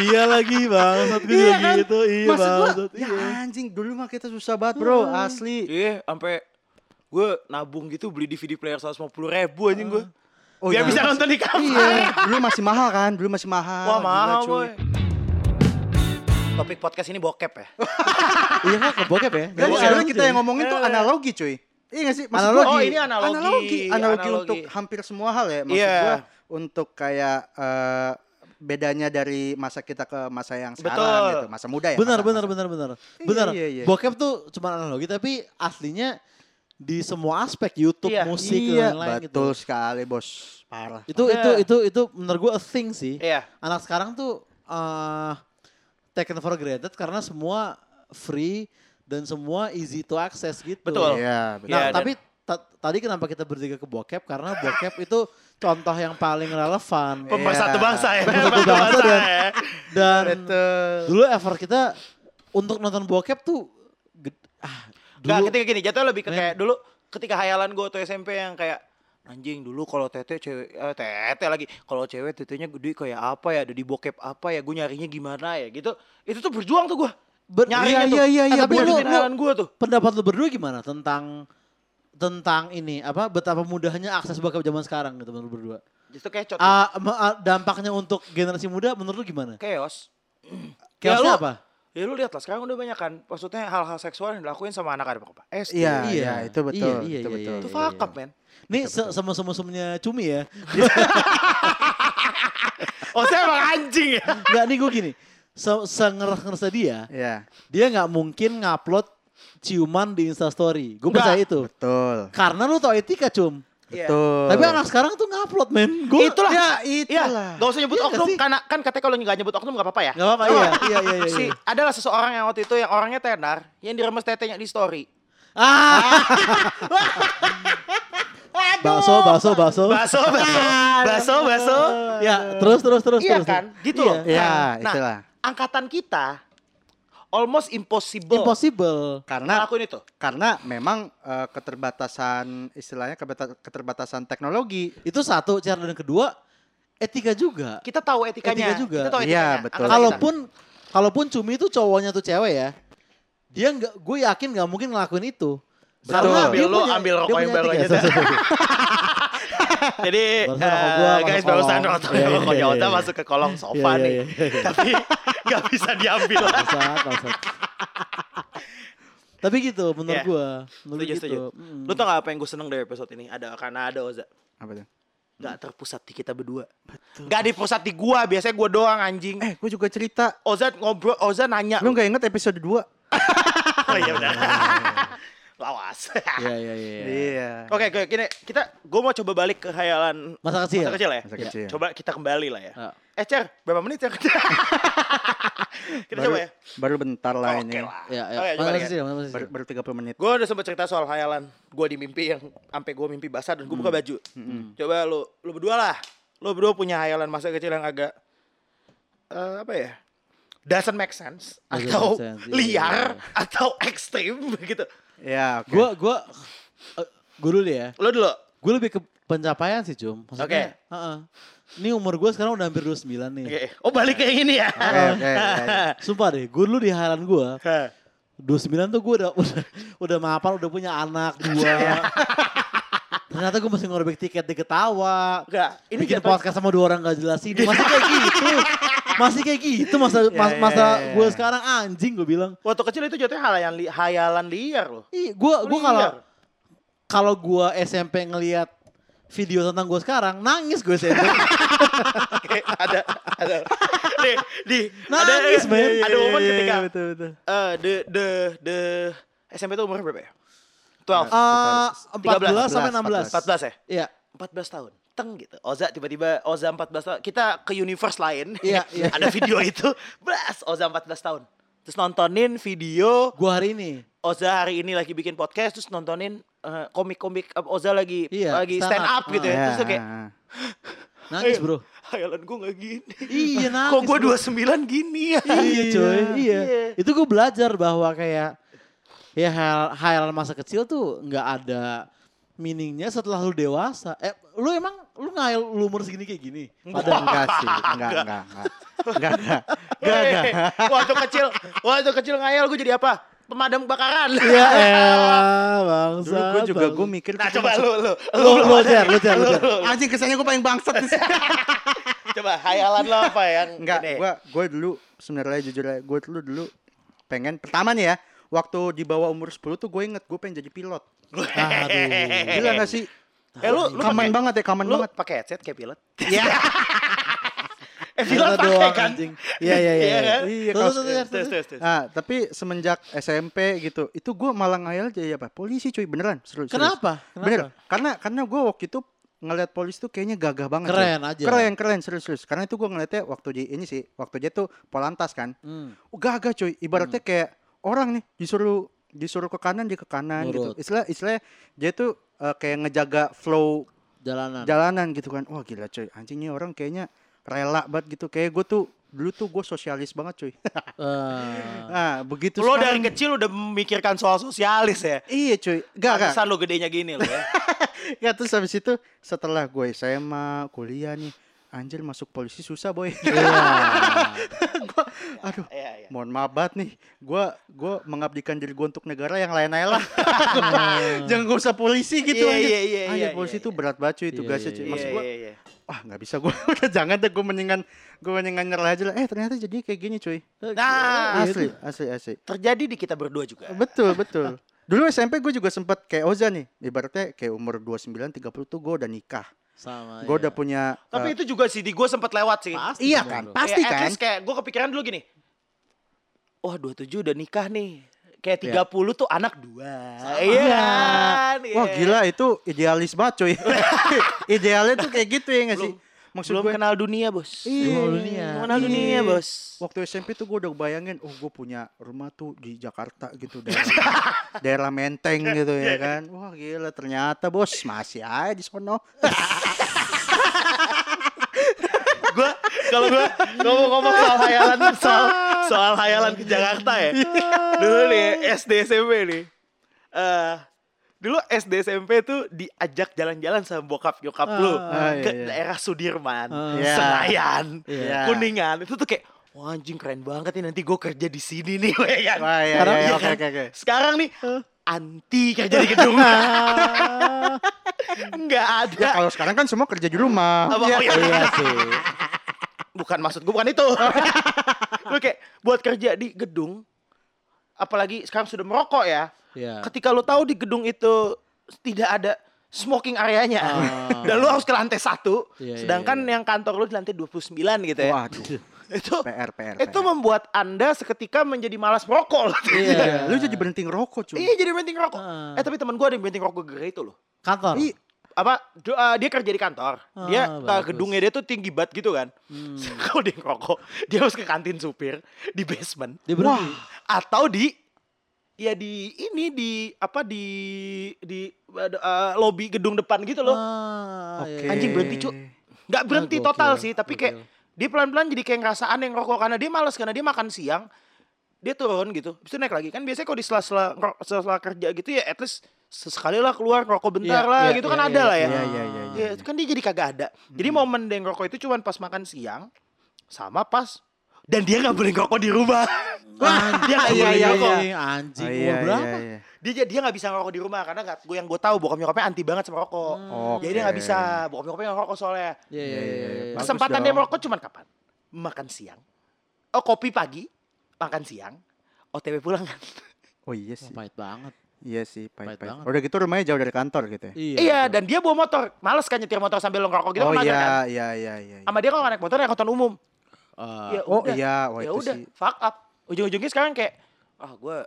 iya lagi bangsat gue juga gitu. Iya
kan? maksud gua,
bangsat.
ya
iya.
anjing dulu mah kita susah banget bro asli
Iya, sampai gue nabung gitu beli DVD player 150 ribu anjing gue.
Oh,
Biar
iya.
bisa nonton di kamar.
iya dulu masih mahal kan dulu masih mahal
Wah
Gila,
mahal
cuy.
boy. Topik podcast ini bokep ya?
Iya kan ke bokep ya.
Kan
Gua-
sebenarnya kita
Anjing.
yang ngomongin
Iya,
tuh
iya.
analogi cuy. Iya gak sih? Maksud
Analogi.
gua-
Oh, ini analogi.
Analogi. Analogi
Analogi.
untuk hampir semua hal ya. Maksud
Iya.
gua untuk kayak eh, bedanya dari masa kita ke masa yang sekarang
Betul.
gitu. Masa muda ya.
Benar,
masa-
benar,
masa-
benar, benar.
Iya,
Benar.
iya, iya.
Bokep tuh cuma analogi tapi aslinya di semua aspek YouTube,
Iya.
musik
Iya,
dan lain-lain gitu.
betul sekali bos. Parah.
Itu
Iya.
itu itu itu menurut gue a thing sih.
Iya.
Anak sekarang tuh eh taken for granted karena semua free dan semua easy to access gitu.
Betul.
Iya, betul.
Iya,
Nah,
dan-
tapi ta- tadi kenapa kita bertiga ke bokep? Karena bokep itu contoh yang paling relevan.
Pemersatu
Iya.
bangsa ya.
Pemersatu
Pemersatu
bangsa dan-
ya.
Dan
Betul.
dulu effort kita untuk nonton bokep tuh ged- ah,
Gak
dulu
ketika gini jatuh lebih ke kayak dulu ketika hayalan gue waktu SMP yang kayak anjing dulu kalau tete cewek eh, tete lagi kalau cewek tetenya gede kayak apa ya ada di bokep apa ya gue nyarinya gimana ya gitu itu tuh berjuang tuh gue
Ber-
nyarinya
iya,
tuh
iya, iya, iya,
tapi
bener.
lu,
Lu-
hayalan gue tuh
Pendapat lu berdua gimana tentang tentang ini apa betapa mudahnya akses bokep zaman sekarang gitu menurut lu berdua.
itu kecoh tuh.
Ah, em- ah, dampaknya untuk generasi muda menurut lu gimana?
chaos Ya,
Chaosnya
lu-
apa?
Ya lu lihat lah sekarang udah banyak kan maksudnya hal-hal seksual yang dilakuin sama anak anak apa? Eh
Iya,
Iya,
iya, itu
iya,
betul,
iya, iya,
itu betul.
itu
iya,
fuck
iya.
up men.
Nih se- sama semua semuanya cumi ya.
Oh saya emang anjing ya.
Enggak nih gue gini. Se Sengeres-ngeresnya dia,
Iya,
dia nggak mungkin ngupload ciuman di Instastory. Gue
Nggak.
percaya itu.
betul.
Karena lu tau etika cum.
Iya.
Betul.
Tapi anak sekarang tuh ngupload men. Gua,
Itulah.
Ya,
Iya,
itulah.
gak usah nyebut
Iya nggak
oknum
sih?
karena kan katanya kalau nggak nyebut oknum gak apa-apa ya.
Gak apa-apa iya. iya, iya, iya,
Si
iya.
adalah seseorang yang waktu itu yang orangnya tenar, yang diremes tetenya di story.
Ah. Bakso, bakso, bakso.
Baso, baso, baso, baso.
Ya, terus terus terus
Iya
terus.
kan, gitu
Iya.
loh.
Iya,
Nah,
itulah.
Angkatan kita almost impossible.
Impossible.
Karena
Ngelakuin itu.
karena memang eh, keterbatasan istilahnya kebata- keterbatasan teknologi.
Itu satu cara dan kedua etika juga.
Kita tahu etikanya.
Etika juga.
Kita tahu
Iya,
etikanya.
betul.
angkatan kita.
Kalaupun kalaupun cumi itu cowoknya tuh cewek ya. Dia nggak gue yakin nggak mungkin ngelakuin itu.
Betul. Ambil lu,
punya-
ambil
dia
rokok
punya
yang baru
etika.
aja, Zah. Jadi
Barusan rokok gua
eh, guys
masuk
barusan
kolong.
rokok
Iya, iya,
rokoknya
iya,
Ota
iya.
masuk ke kolong
Iya,
sofa
iya,
nih.
iya, iya.
Tapi nggak bisa diambil.
Bangsat, bangsat. Tapi gitu menurut
Iya.
gue. Menurut
Setuju,
gitu.
setuju.
Mm.
Lu tau gak apa yang gue seneng dari episode ini? Ada karena ada Oza.
Apa tuh?
Gak
Hmm.
terpusat di kita berdua. Gak dipusat di gua, biasanya gua doang anjing.
Eh, gue juga cerita.
Oza ngobrol, Oza nanya.
Lu nggak inget episode 2?
Oh iya benar. Lawas.
Iya, iya, iya.
Iya.
Oke, gue gini, kita gue mau coba balik ke khayalan
Masa kecil.
masa kecil ya.
Masa
Iya.
kecil. Ah.
Coba kita kembali lah ya.
Ya.
Eh, Cer, berapa menit Cer? kita
baru,
coba
Iya,
ya.
Baru bentar lah
Oke
ini.
lah.
Ya, ya.
Oke, coba
Masa
deh.
kecil, masa kecil.
Baru, baru 30 menit.
Gue udah sempat cerita soal khayalan gue di mimpi yang sampai gue mimpi basah dan gue
Hmm.
buka baju. Coba lu lu berdua lah. Lu berdua punya khayalan masa kecil yang agak eh, apa ya? Doesn't make sense
Doesn't
atau
make sense, iya,
liar
iya, iya.
atau ekstrim gitu.
Ya, oke.
Gue gue gue dulu ya.
Lu dulu.
Gue lebih ke pencapaian sih cum. Maksudnya. heeh. Ini umur gue sekarang udah hampir 29 nih.
Oke. Oh balik kayak gini ya.
Oke, oke. ya, ya.
Sumpah deh, gue dulu di hayalan gue,
Hah.
29 tuh gue udah, udah udah mapan, udah punya anak
Iya.
dua. Ternyata gue masih ngorek tiket di ketawa.
Enggak, ini
bikin
jatuh-
podcast sama dua orang gak jelas ini. Masih kayak gitu. Masih kayak gitu masa
Iya,
mas-
ya,
masa
ya, ya.
gue sekarang anjing gue bilang.
Waktu kecil itu jatuhnya hayalan, li- hayalan liar loh.
Ih, gue
Lu
gua kalau
liar.
kalau gue SMP ngelihat video tentang gue sekarang nangis gue SMP.
Oke, ada ada. Nih, di ada
Nangis, men.
ada momen ketika
betul, betul.
eh the the the SMP itu umur berapa ya? 12.
Eh, 14 sampai
14.
16.
14 ya?
Iya.
14 tahun. Teng gitu. Oza tiba-tiba Oza 14 tahun. Kita ke universe lain.
Iya, iya.
Ada video itu. Blas Oza 14 tahun. Terus nontonin video
Gue hari ini
Oza hari ini lagi bikin podcast terus nontonin eh, komik-komik eh, Oza lagi
Iya,
lagi
stand
stand
up.
up, gitu ya.
Ya,
Terus tuh kayak
ah, ah.
nangis
"Eh,
bro.
Hayalan gue gak gini.
Iya,
Kok
nangis,
gue
bro.
29 gini ya?
iya coy, iya.
Iya.
Itu gue belajar bahwa kayak ya hal hayalan masa kecil tuh nggak ada meaningnya setelah lu dewasa. Eh, lu emang lu ngayal lu umur segini kayak gini?
Padahal enggak sih, enggak, enggak, enggak. Enggak, enggak. Enggak, enggak.
Weh, Waktu kecil, waktu kecil ngayal gue jadi apa? Pemadam kebakaran.
Ya elah, bangsa.
Dulu gue juga gue mikir
Nah
gua
coba
masuk-
lu, lu,
Lu, lu, Cer, lu, Cer, lu, Cer.
Anjing kesannya gue paling bangsat di sini.
Coba hayalan lo apa yang
Enggak,
ini?
gue gue dulu sebenarnya jujur aja gue dulu dulu pengen pertama nih ya waktu di bawah umur 10 tuh gue inget gue pengen jadi pilot.
Aduh.
Gila gak sih?
Eh lu, lu pakai-
Kaman banget ya, kaman
Lu
banget.
pakai headset kayak pilot?
Iya.
Eh pilot
Ternyata
pakai
doang,
kan?
anjing. Iya, iya, iya.
Iya gitu. kan?
Iya,
Terus, terus,
kalau-
terus,
Terus,
terus.
terus, terus.
Ah, tapi semenjak SMP gitu, itu gue malah ngayal jadi apa? Polisi cuy, beneran. Seru, serius.
Kenapa? Kenapa?
Bener. Karena karena gue waktu itu ngeliat polisi tuh kayaknya gagah banget. cuy.
Keren aja.
Keren, keren, serius, serius. Karena itu gue ngeliatnya waktu di ini sih, waktu dia tuh polantas kan.
Hmm.
Oh, gagah cuy, ibaratnya kayak orang nih disuruh disuruh ke kanan dia ke kanan
Nurut.
gitu. Istilah istilah dia tuh eh, kayak ngejaga flow
Jalanan.
jalanan gitu kan. Wah gila cuy, anjingnya orang kayaknya rela banget gitu. Kayak gue tuh dulu tuh gue sosialis banget cuy.
Eh,
nah begitu
Lo dari
sekarang-
kecil udah memikirkan soal sosialis ya.
Iya cuy, gak gak.
Pantesan lo gedenya gini lo ya.
Ya terus habis itu setelah gue SMA kuliah nih, anjir masuk polisi susah boy.
Nah,
Gua- aduh,
Iya, iya.
mohon maaf banget nih, gue gua mengabdikan diri gue untuk negara yang lain aja lah. Jangan gak usah polisi gitu.
Hmm. Iya,
anjir.
iya, iya, iya,
Anjir, polisi
iya,
tuh berat banget cuy
Iya,
tugasnya
iya,
cuy.
iya.
Maksud
Iya,
gue,
iya, iya.
wah nggak bisa gue udah jangan deh gue mendingan gue mendingan nyerah aja lah. Eh ternyata jadinya kayak gini cuy.
Nah,
asli, asli, asli.
terjadi di kita berdua juga.
Betul, betul. Dulu SMP gue juga sempet kayak Oza nih. Ibaratnya kayak umur 29 30 tuh gue udah nikah.
sama.
Gue udah punya
Oh, iya. Tapi
eh,
itu juga sih di gue sempat lewat sih.
Iya kan, pasti
Kayak Ya, at
kan.
least kayak gue kepikiran dulu gini. Wah 27 udah nikah nih. Kayak
Iya.
30 tuh anak dua. Iya kan?
Wah,
Iya.
gila itu idealis banget cuy. Idealnya tuh kayak gitu ya nggak sih? Maksud
Belum
gue
kenal dunia bos.
Iya.
Belum kenal dunia.
Belum kenal
Iya.
dunia bos.
Waktu SMP tuh gue udah bayangin, oh gue punya rumah tuh di Jakarta gitu daerah, daerah Menteng
Iya,
gitu ya kan. Wah gila ternyata bos masih aja di sono.
gue kalau gue ngomong-ngomong soal hayalan soal soal hayalan ke Jakarta
Iya.
ya dulu nih SD SMP nih eh dulu SD SMP tuh diajak jalan-jalan sama bokap nyokap lu
Ah,
ke
iya, iya.
daerah Sudirman
Ah.
Iya.
Senayan
Iya.
Kuningan itu tuh kayak Wah anjing keren banget nih nanti gue kerja di sini nih ya kan?
Wah ya,
Sekarang-
ya,
iya
oke
kan?
oke oke.
Sekarang nih anti kerja di gedung nggak
Ya
ada
kalau sekarang kan semua kerja di rumah.
Apa- oh, iya.
Iya sih.
bukan maksud gue bukan itu. lu kayak buat kerja di gedung, apalagi sekarang sudah merokok ya.
Iya.
Ketika lu tahu di gedung itu tidak ada smoking areanya,
Ah.
dan lu harus ke lantai satu,
Iya, iya,
sedangkan
iya.
yang kantor lu di lantai 29 gitu ya.
Waduh,
Itu
PR PR.
itu membuat anda seketika menjadi malas merokok.
Iya.
Iya, lu jadi berhenti ngerokok cuy.
Iya jadi berhenti ngerokok.
Ah.
Eh tapi teman gue ada yang berhenti ngerokok gara itu loh.
Kantor.
Ih,
Apa do- eh, dia kerja di kantor. Dia
Ah,
eh,
bagus.
gedungnya dia tuh tinggi banget gitu kan.
Hmm.
Kalau dia ngerokok, dia harus ke kantin supir di basement.
Dia berhenti.
atau di ya di ini di apa di di eh, lobby gedung depan gitu loh.
Ah,
oke.
iya,
Anjing
iya.
berhenti, Cuk. Nggak berhenti
Ah,
total
gokil,
sih, tapi
gokil.
kayak dia pelan-pelan jadi kayak ngerasa aneh ngerokok karena dia males karena dia makan siang. Dia turun gitu, habis itu naik lagi. Kan biasanya kalau di sela-sela ngero- sela-sela kerja gitu ya at least sesekali lah keluar ngerokok bentar
Iya,
lah
iya,
gitu
iya,
kan ada
iya,
lah ya.
Iya, iya, iya,
Ya, itu kan dia jadi kagak ada. Jadi
Hmm.
momen dia ngerokok itu cuman pas makan siang sama pas dan dia nggak boleh ngerokok di rumah. dia nggak
Iya,
boleh
iya,
ngerokok.
iya. Anjing,
Oh,
umur berapa?
iya.
dia jadi- dia nggak bisa ngerokok di rumah karena nggak gue yang gue tahu bokap nyokapnya anti banget sama rokok
Hmm. Oke.
jadi dia nggak bisa bokap nyokapnya nggak rokok soalnya
Iya, iya,
Iya,
iya,
iya,
iya.
Bagus
kesempatan
dong.
dia merokok cuman kapan makan siang oh kopi pagi makan siang otw pulang kan
Oh iya sih.
Pahit banget.
Iya sih,
Pahit
pahit,
banget.
pahit. Udah gitu rumahnya jauh dari kantor gitu ya.
iya dan dia bawa motor males kan nyetir motor sambil lo ngerokok gitu
oh
kan
iya,
mager kan
iya, iya, iya. iya.
sama dia kalau nggak naik motor naik angkutan umum
Eh,
ya
Oh
udah
iya, wah
ya
itu
udah
sih.
fuck up ujung-ujungnya sekarang kayak ah gue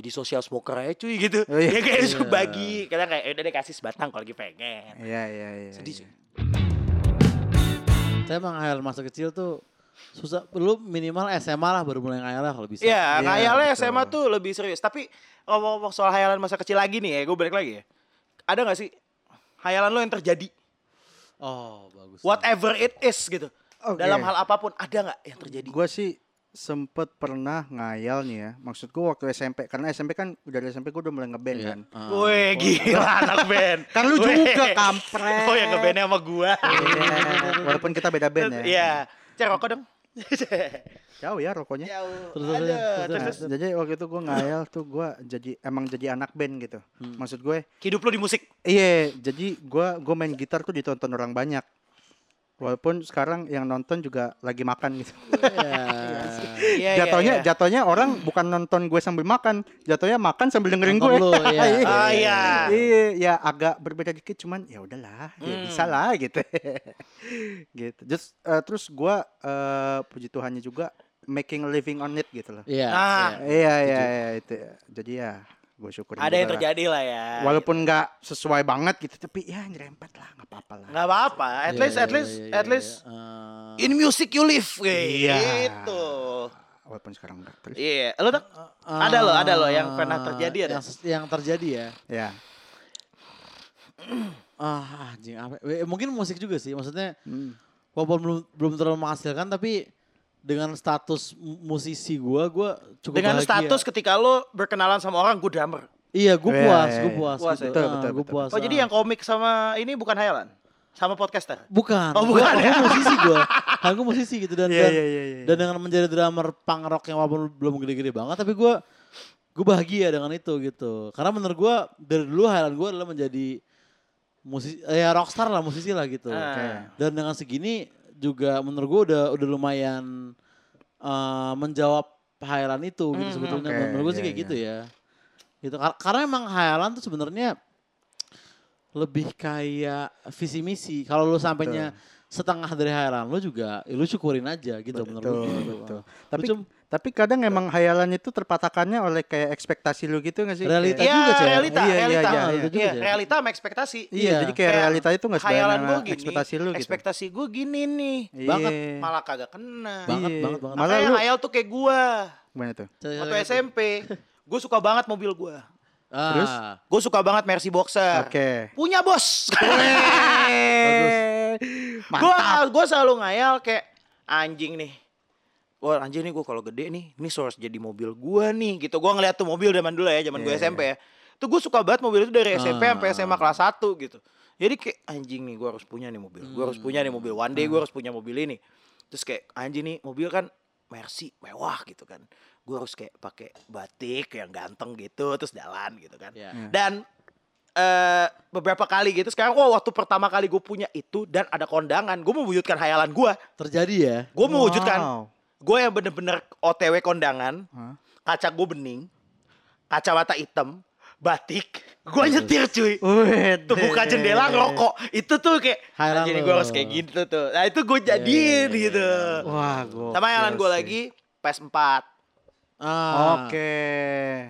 jadi sosial smoker aja cuy gitu
Oh, iya.
dia kayak suka
Iya.
bagi kadang kayak "Eh, udah deh kasih sebatang kalau lagi pengen
Iya, iya, iya.
sedih sih
iya.
Saya emang ngayal masa kecil tuh susah. Lu minimal SMA lah baru mulai ngayal lah kalau bisa.
Iya,
Iya,
ngayalnya
betul.
SMA tuh lebih serius. Tapi ngomong-ngomong soal hayalan masa kecil lagi nih ya, gue balik lagi ya. Ada gak sih hayalan lo yang terjadi?
Oh, bagus.
Whatever it is gitu.
Oke.
Dalam hal apapun, ada gak yang terjadi?
Gua sih sempet pernah ngayal nih ya. Maksud gua waktu SMP karena SMP kan dari SMP gua udah mulai ngeband
Iya.
kan.
Ah.
Woi gila anak band.
Kan lu
Weh.
juga kampret.
Oh ya ngebandnya sama gue.
Iya, Walaupun kita beda band ya.
Iya. Cek rokok dong.
Jauh ya rokoknya.
Jauh.
Terus,
Ada.
terus,
Iya, Terus,
Nah,
terus.
jadi waktu itu gua ngayal tuh gua jadi emang jadi anak band gitu.
Hmm.
Maksud gue
Hidup lo di musik.
Iya, jadi gua gua main gitar tuh ditonton orang banyak. Walaupun sekarang yang nonton juga lagi makan gitu.
Iya.
Iya, iya,
jatuhnya
iya.
jatuhnya orang bukan nonton gue sambil makan, jatuhnya makan sambil dengerin
Nonton
gue.
lu, iya.
Ah, iya.
Iya, ya agak berbeda dikit cuman ya udahlah, ya
Hmm.
bisa lah gitu. gitu. Just, eh, terus gua eh, puji Tuhannya juga making a living on it gitu loh.
Iya.
Ah.
iya.
Iya, iya, iya itu. ya. Jadi ya gue syukurin
Ada
juga
yang
lah.
terjadi lah ya.
Walaupun nggak sesuai banget gitu, tapi ya nyerempet lah, nggak apa-apa lah.
Gak apa-apa. At
Iya,
least, at
iya,
least,
iya,
at
iya,
least.
iya. Ah.
In music you live.
Iya.
Gitu.
Walaupun sekarang enggak. Terus
Iya. Lo tak?
Ah,
Ada loh, ada loh yang
Ah,
pernah terjadi ada.
Yang, ses- yang terjadi ya.
ya.
Ah, anjing apa? eh, Mungkin musik juga sih. Maksudnya
Hmm.
walaupun belum belum terlalu menghasilkan tapi dengan status mu- musisi gue, gue cukup
Dengan
bahagia.
status ketika lo berkenalan sama orang gue drummer.
Iya, gue
Iya,
puas,
iya,
gue
iya.
puas.
Puas
gitu.
ya?
Betul,
Ah,
betul,
gua
betul.
puas.
Oh, jadi yang komik sama ini bukan hayalan. Sama podcaster.
Bukan.
Oh, bukan
Gua-
ya?
gua musisi gue. Aku musisi gitu dan
Iya,
dan,
iya, iya, iya.
dan dengan menjadi drummer punk rock yang walaupun belum gede-gede banget tapi gue gue bahagia dengan itu gitu. Karena menurut gue dari dulu hayalan gue adalah menjadi musisi eh, ya rockstar lah musisi lah gitu.
Ah.
Dan dengan segini juga menurut gue udah udah lumayan eh, menjawab hayalan itu gitu
Mhm.
sebetulnya.
Oke,
menurut gue sih
iya,
kayak
iya.
gitu ya. Gitu Kar- karena emang hayalan tuh sebenarnya lebih kayak visi misi. Kalau lu sampainya setengah dari hayalan lu juga ya lu syukurin aja gitu menurut
Betul,
gue.
betul. Tapi
Lu cum-
tapi kadang emang hayalan itu terpatahkannya oleh kayak ekspektasi lu gitu nggak sih?
Realita
Kayak-
Iya,
juga, Cel.
realita,
Iya, iya,
realita.
iya,
iya.
Iya,
Iya.
realita sama ekspektasi.
Iya,
Iya.
jadi kayak realita itu nggak sesuai
Hayalan
sama
gue gini,
ekspektasi lu gitu.
Ekspektasi gue gini nih.
Iya.
Banget,
Malah kagak kena.
Banget,
Iya.
banget, banget.
Malah
Makanya
lu Iya,
hayal tuh kayak gue.
gimana tuh?
Waktu SMP, gue suka banget mobil gue.
Ah,
Terus?
Gue suka banget Mercy Boxer.
Oke.
Punya bos.
Eh,
Gue
Mantap.
gue selalu ngayal kayak anjing nih. Wah anjing nih gue kalau gede nih, ini harus jadi mobil gue nih gitu. Gue ngeliat tuh mobil zaman dulu ya, zaman gue
Iya.
SMP ya. Tuh gue suka banget mobil itu dari SMP
Ah.
sampai SMA kelas 1 gitu. Jadi kayak anjing nih gue harus punya nih mobil. Gue harus punya nih mobil. One day
Hmm.
gue harus punya mobil ini. Terus kayak anjing nih mobil kan Mercy mewah gitu kan. Gue harus kayak pakai batik yang ganteng gitu terus jalan gitu kan.
Iya.
Dan eh beberapa kali gitu sekarang oh, waktu pertama kali gue punya itu dan ada kondangan gue mewujudkan hayalan gue
terjadi ya.
gue mewujudkan
Wow.
gue yang bener-bener otw kondangan
Hah?
kaca gue bening kacamata hitam batik gue nyetir cuy
Wede.
tuh buka jendela ngerokok itu tuh kayak
Hayalan
jadi
lo." Iya,
gue harus kayak gitu tuh nah itu gue jadiin gitu
Wah, gua.
sama hayalan gue lagi E PS4
Ah,
Oke.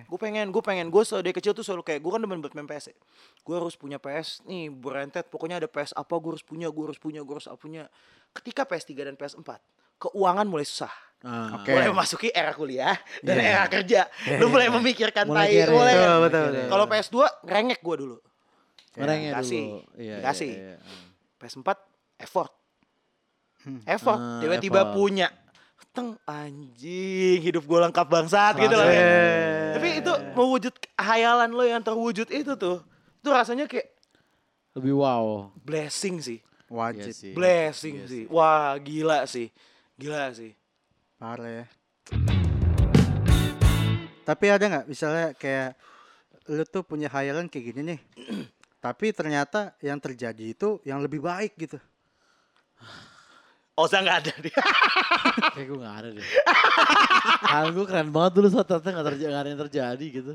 Gue pengen, gue pengen. Gue dari kecil tuh selalu kayak, gue kan demen buat main PS ya. Gue harus punya PS nih, berentet. Pokoknya ada PS apa, gue harus punya, gue harus punya, gue harus punya. Ketika PS3 dan PS4, keuangan mulai susah.
ah.
Oke.
Mulai memasuki era kuliah dan
Iya.
era kerja. Lu mulai memikirkan
Mulai
tai,
kere.
mulai. kan?
Betul, betul, betul.
Kalau PS2, ngerengek gue dulu.
Ya,
Merengek
Dikasih.
dulu. Iya,
Dikasih.
iya, iya.
PS4, effort.
Hmm.
Effort,
Ah,
tiba-tiba
effort.
punya. Teng, anjing, hidup gue lengkap bangsat gitu loh.
Iya.
men. Tapi itu mewujud hayalan lo yang terwujud itu tuh. Itu rasanya kayak
Lebih wow.
blessing sih.
wajib
Iya sih.
Blessing
Iya
sih. Wah, gila sih. Gila sih.
parah ya. Tapi ada nggak misalnya kayak lu tuh punya hayalan kayak gini nih. Tapi ternyata yang terjadi itu yang lebih baik gitu.
Oza Oh, nggak ada dia.
Kayak gue gak ada deh. Hal gue keren banget dulu saat ternyata gak, terjadi, gak ada yang terjadi gitu.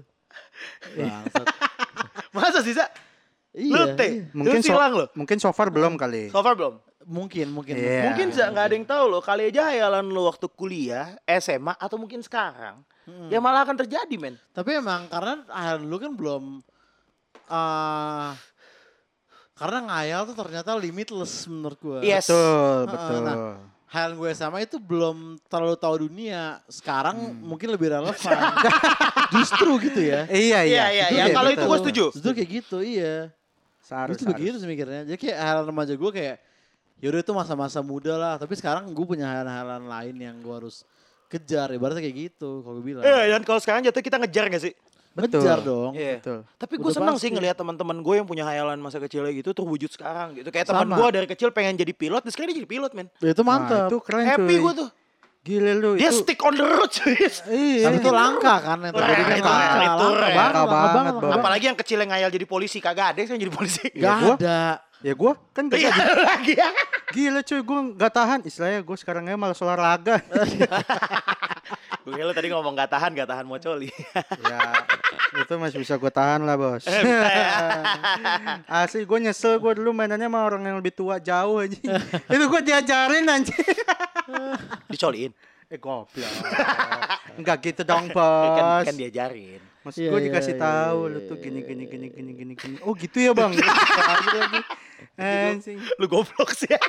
Iya.
Bangsat.
Masa sih, Sa?
iya.
Lu teh.
iya.
Mungkin
Lu silang lo.
mungkin so far belum kali.
So far belum?
Mungkin, mungkin.
Iya. Ya,
mungkin Za, nggak ada yang tahu lo. Kali aja hayalan lo waktu kuliah, SMA, atau mungkin sekarang.
Hmm.
Ya malah akan terjadi, men.
Tapi emang karena akhir dulu kan belum... eh karena ngayal tuh ternyata limitless menurut gue.
Yes.
Betul,
Ah,
Iya, betul.
nah. Hayalan gue sama itu belum terlalu tahu dunia. Sekarang mungkin lebih relevan. Justru gitu ya.
Hmm. Iya,
Iya,
iya.
iya,
Betul,
iya.
betul,
Kalau itu
betul.
gua setuju.
Justru kayak gitu, iya.
Seharus,
Justru
seharus.
begitu sih mikirnya. Jadi kayak hayalan remaja gue kayak yaudah itu masa-masa muda lah. Tapi sekarang gue punya hayalan-hayalan lain yang gue harus kejar. Ibaratnya kayak gitu kalau gue bilang.
Eh, dan kalau sekarang jatuh kita ngejar gak sih?
Iya, Betul.
Ngejar dong.
Iya.
Oh, Betul.
Tapi gue
Udah
senang
pasti.
sih ngelihat teman-teman gue yang punya hayalan masa kecilnya gitu terwujud sekarang gitu. Kayak teman
Sama.
gue dari kecil pengen jadi pilot, terus sekarang dia jadi pilot, men.
Ya Itu
Nah,
mantap.
itu keren
Happy
cuy.
gue tuh.
Gila lu
Dia
itu.
stick on the road, cuy.
Iya.
Tapi itu langka kan. Yang terjadi kan
Itu
langka.
langka, itu
Langka
langka
banget. Langka
banget,
banget.
Bang.
Apalagi
Apalagi yang kecil yang ngayal jadi polisi kagak ada yang jadi polisi.
Gak
gua-
ada.
Ya gua kan gak
Iya
jadi.
lagi ya.
Gila cuy gua gak tahan. Istilahnya gua sekarang aja malas olahraga.
Gue kira lu tadi ngomong gak tahan, gak tahan mau coli.
ya itu masih bisa gua tahan lah bos.
bisa
Asli gua nyesel gua dulu mainannya sama orang yang lebih tua jauh aja. itu gua diajarin anjing.
Dicoliin.
eh goblok. Enggak gitu dong
Kan,
bos.
kan diajarin.
Maksud
Iya,
gue
iya,
dikasih
iya,
tahu
iya,
lu tuh
iya,
gini
iya,
gini
iya,
gini gini gini gini. Oh gitu ya bang. Gitu lagi. Anjing.
Lu goblok sih.
Gak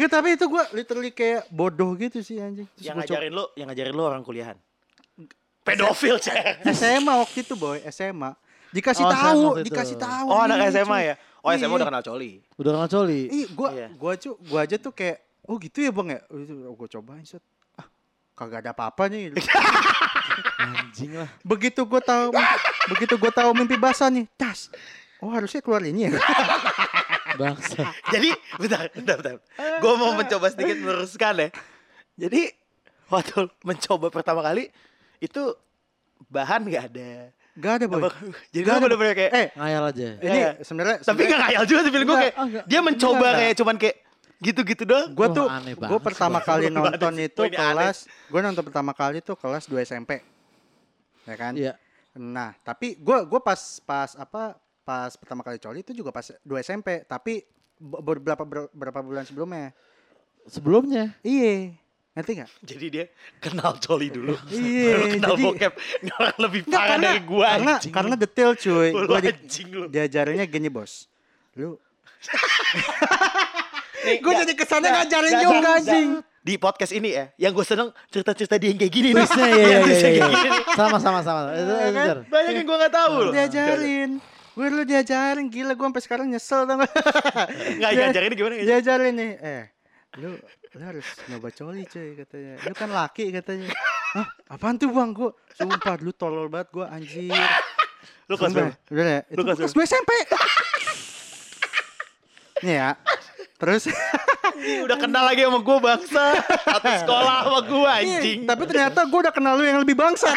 Gitu tapi itu gue literally kayak bodoh gitu sih anjing. Terus
yang
gua coba-
ngajarin lu, yang ngajarin lu orang kuliahan. Pedofil, Cek.
SMA waktu itu boy SMA dikasih
Oh, SMA
tahu
waktu itu.
dikasih tahu.
Oh, anak
anjing,
SMA
cuy.
ya? Oh, SMA
Iya.
udah kenal coli.
Udah kenal coli.
Ih, gua
Iya.
gitu. gua cu, gua aja tuh kayak oh gitu ya bang ya. Oh, Itu gue cobain Oh, set. Ah, kagak ada apa-apa nih.
Anjing lah.
begitu gue tahu begitu gue tahu mimpi basah nih, tas. Oh harusnya keluar ini ya.
Bangsa.
Jadi bentar, bentar, bentar. Gue mau mencoba sedikit meluruskan ya. Jadi waktu mencoba pertama kali itu bahan nggak ada.
Gak ada Eh, boy.
Apa- Jadi
Gak
gue
ada.
bener-bener kayak,
Eh
Ngayal aja.
ini
Ya.
sebenarnya
tapi nggak ngayal juga sih feeling gue
Enggak,
kayak.
enggak.
Dia mencoba
Enggak.
kayak cuman kayak gitu-gitu doang.
gue
Wah,
tuh
aneh
gue
banget
pertama
sih,
kali
Bang.
nonton
Aneh sih,
itu
ini aneh.
kelas gue nonton pertama kali tuh kelas 2 SMP ya kan
Iya.
nah tapi gue gue pas pas apa pas pertama kali coli itu juga pas 2 SMP tapi be- beberapa ber- berapa bulan sebelumnya
Sebelumnya.
iya ngerti nggak
Jadi dia kenal Jolly dulu.
Iya,
Baru kenal
jadi-
bokep. Ini orang lebih
Nggak,
parah dari gue.
karena
anjing.
karena detail cuy
Lu
gue di,
anjing lu.
diajarinnya gini bos lu
Nih,
gue
nggak-
jadi kesana
nggak-
ngajarin
nggak-
juga
nggak-
anjing
Di podcast ini ya, yang gue seneng cerita-cerita dia yang kayak gini. nih.
Terusnya ya,
Yang
ya,
bisa
ya, ya.
kayak gini.
Sama, sama, sama. Itu
Iya kan?
bener.
Banyak yang gue gak tahu loh.
diajarin gue dulu diajarin gila gue sampai sekarang nyesel tau nggak?
Nggak diajarin gimana? ya?
diajarin nih eh lu lu harus nyoba coli cuy katanya lu kan laki katanya Hah, apaan tuh bang gue sumpah lu tolol banget gue anjir
Lu kelas
Sumpah,
berapa?
udah ya itu
Lu kelas
kelas 2 SMP nih ya terus
Ih, Udah kenal lagi sama gue bangsa. Satu sekolah sama gue
Iya.
anjing.
Ih, tapi ternyata gue udah kenal lu yang lebih bangsat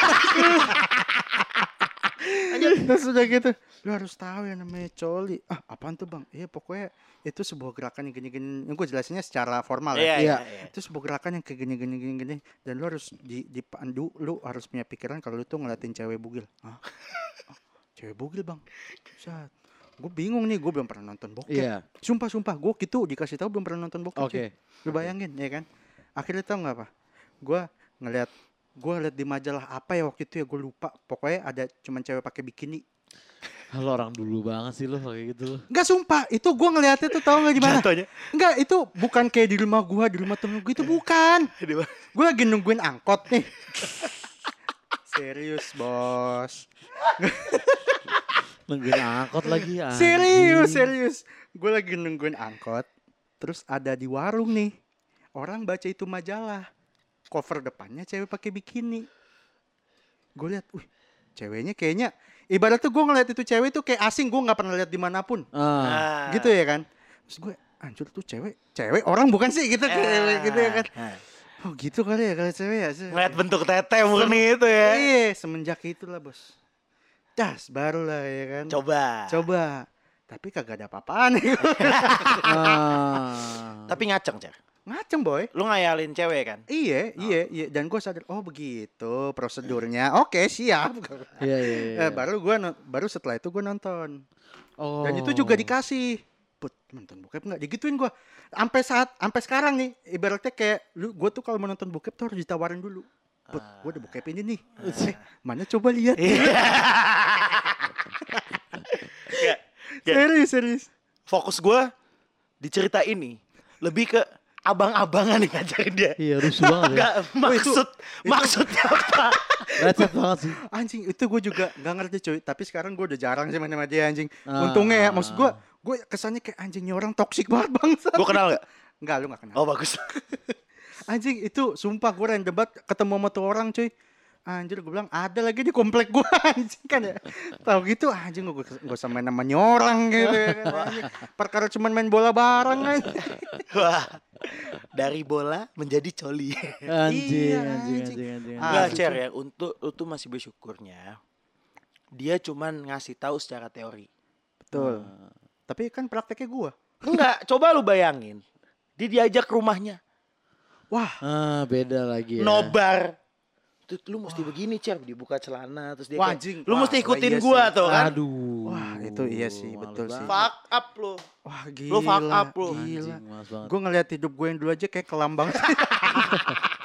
terus udah gitu lu harus tahu yang namanya coli ah apaan tuh bang iya pokoknya itu sebuah gerakan yang gini-gini gue jelasinnya secara formal ya
Iya, iya, iya.
itu sebuah gerakan yang kayak gini gini gini gini dan lu harus di, dipandu lu harus punya pikiran kalau lu tuh ngeliatin cewek bugil Hah? Ah, cewek bugil bang saat gue bingung nih gue belum pernah nonton bokep
Iya.
sumpah sumpah gue gitu dikasih tahu belum pernah nonton bokep
Oke.
cuy. lu bayangin ya kan akhirnya tau nggak apa gue ngeliat gue liat di majalah apa ya waktu itu ya gue lupa pokoknya ada cuman cewek pakai bikini
Lo orang dulu banget sih lo kayak gitu lo.
Enggak sumpah, itu gue ngeliatnya tuh tau gak gimana?
Jatuhnya.
Enggak, itu bukan kayak di rumah gua, di rumah temen gue, itu bukan.
Di mana?
Gue lagi nungguin angkot nih. Serius, bos.
Nungguin angkot lagi. anjing.
Serius, serius. Gue lagi nungguin angkot. Terus ada di warung nih. Orang baca itu majalah. Cover depannya cewek pakai bikini. Gue lihat, uh, ceweknya kayaknya ibarat tuh gue ngeliat itu cewek tuh kayak asing gue nggak pernah lihat dimanapun
Ah.
gitu ya kan terus gue anjir tuh cewek cewek orang bukan sih gitu kayak gitu ya kan oh gitu kali ya kalau cewek ya sih
Ah. Ngeliat bentuk tete murni itu ya.
iya semenjak itulah bos das baru lah ya kan
Coba.
coba tapi kagak ada apa-apaan
Ah.
Tapi ngaceng, Cer.
ngaceng boy
Lu ngayalin cewek kan?
iya
Oh.
iya iya dan gue sadar oh begitu prosedurnya oke siap
Iya, iya, iya.
Eh, baru gue baru setelah itu gue nonton
Oh.
Dan itu juga dikasih. Put, nonton bokep nggak? Digituin gua. Sampai saat sampai sekarang nih, ibaratnya kayak lu gua tuh kalau mau nonton bokep tuh harus ditawarin dulu. Put, gua ada bokep ini nih.
Ah.
Eh, mana coba lihat.
Iya.
Iya. Nggak. Iya.
serius, serius.
Fokus gue di cerita ini lebih ke abang-abangan yang ngajarin dia.
Iya, rusuh banget ya.
Oh,
Enggak, maksud maksudnya apa?
Recet banget sih.
Anjing, itu gua juga nggak ngerti cuy, tapi sekarang gua udah jarang sih main sama dia anjing.
Ah.
Untungnya ya, maksud gua gua kesannya kayak anjingnya orang toksik banget bangsa.
gue kenal gak?
Enggak, lu gak kenal.
Oh bagus.
Anjing itu sumpah gue random banget ketemu sama tuh orang cuy. Anjir gue bilang ada lagi di komplek gue anjing kan ya. Tahu gitu anjing gue gak usah main sama nyorang gitu ya kan. anjing. Perkara cuman main bola bareng
Iya.
kan.
Wah. Dari bola menjadi coli.
Anjing,
Iya,
anjing,
anjing.
anjing, anjing.
Ah,
Enggak,
lucu.
Cer, ya. Untuk lu tuh masih bersyukurnya. Dia cuman ngasih tahu secara teori.
Betul. Tapi kan prakteknya gue.
Enggak, coba lu bayangin. Dia diajak ke rumahnya.
Wah
Ah, beda lagi ya.
Nobar. Tuh, lu mesti begini, Cer. Dibuka celana. Terus dia
Wah,
kayak,
anjing.
Lu
Wah,
mesti
wah,
ikutin
iya
gua
sih.
tuh kan.
Aduh.
Wah, itu iya sih,
males
betul sih.
banget.
Fuck up lu.
wah gila.
Lu fuck up, lu.
Gila.
Anjing, males banget.
Gue ngeliat hidup gue yang dulu aja kayak kelam banget.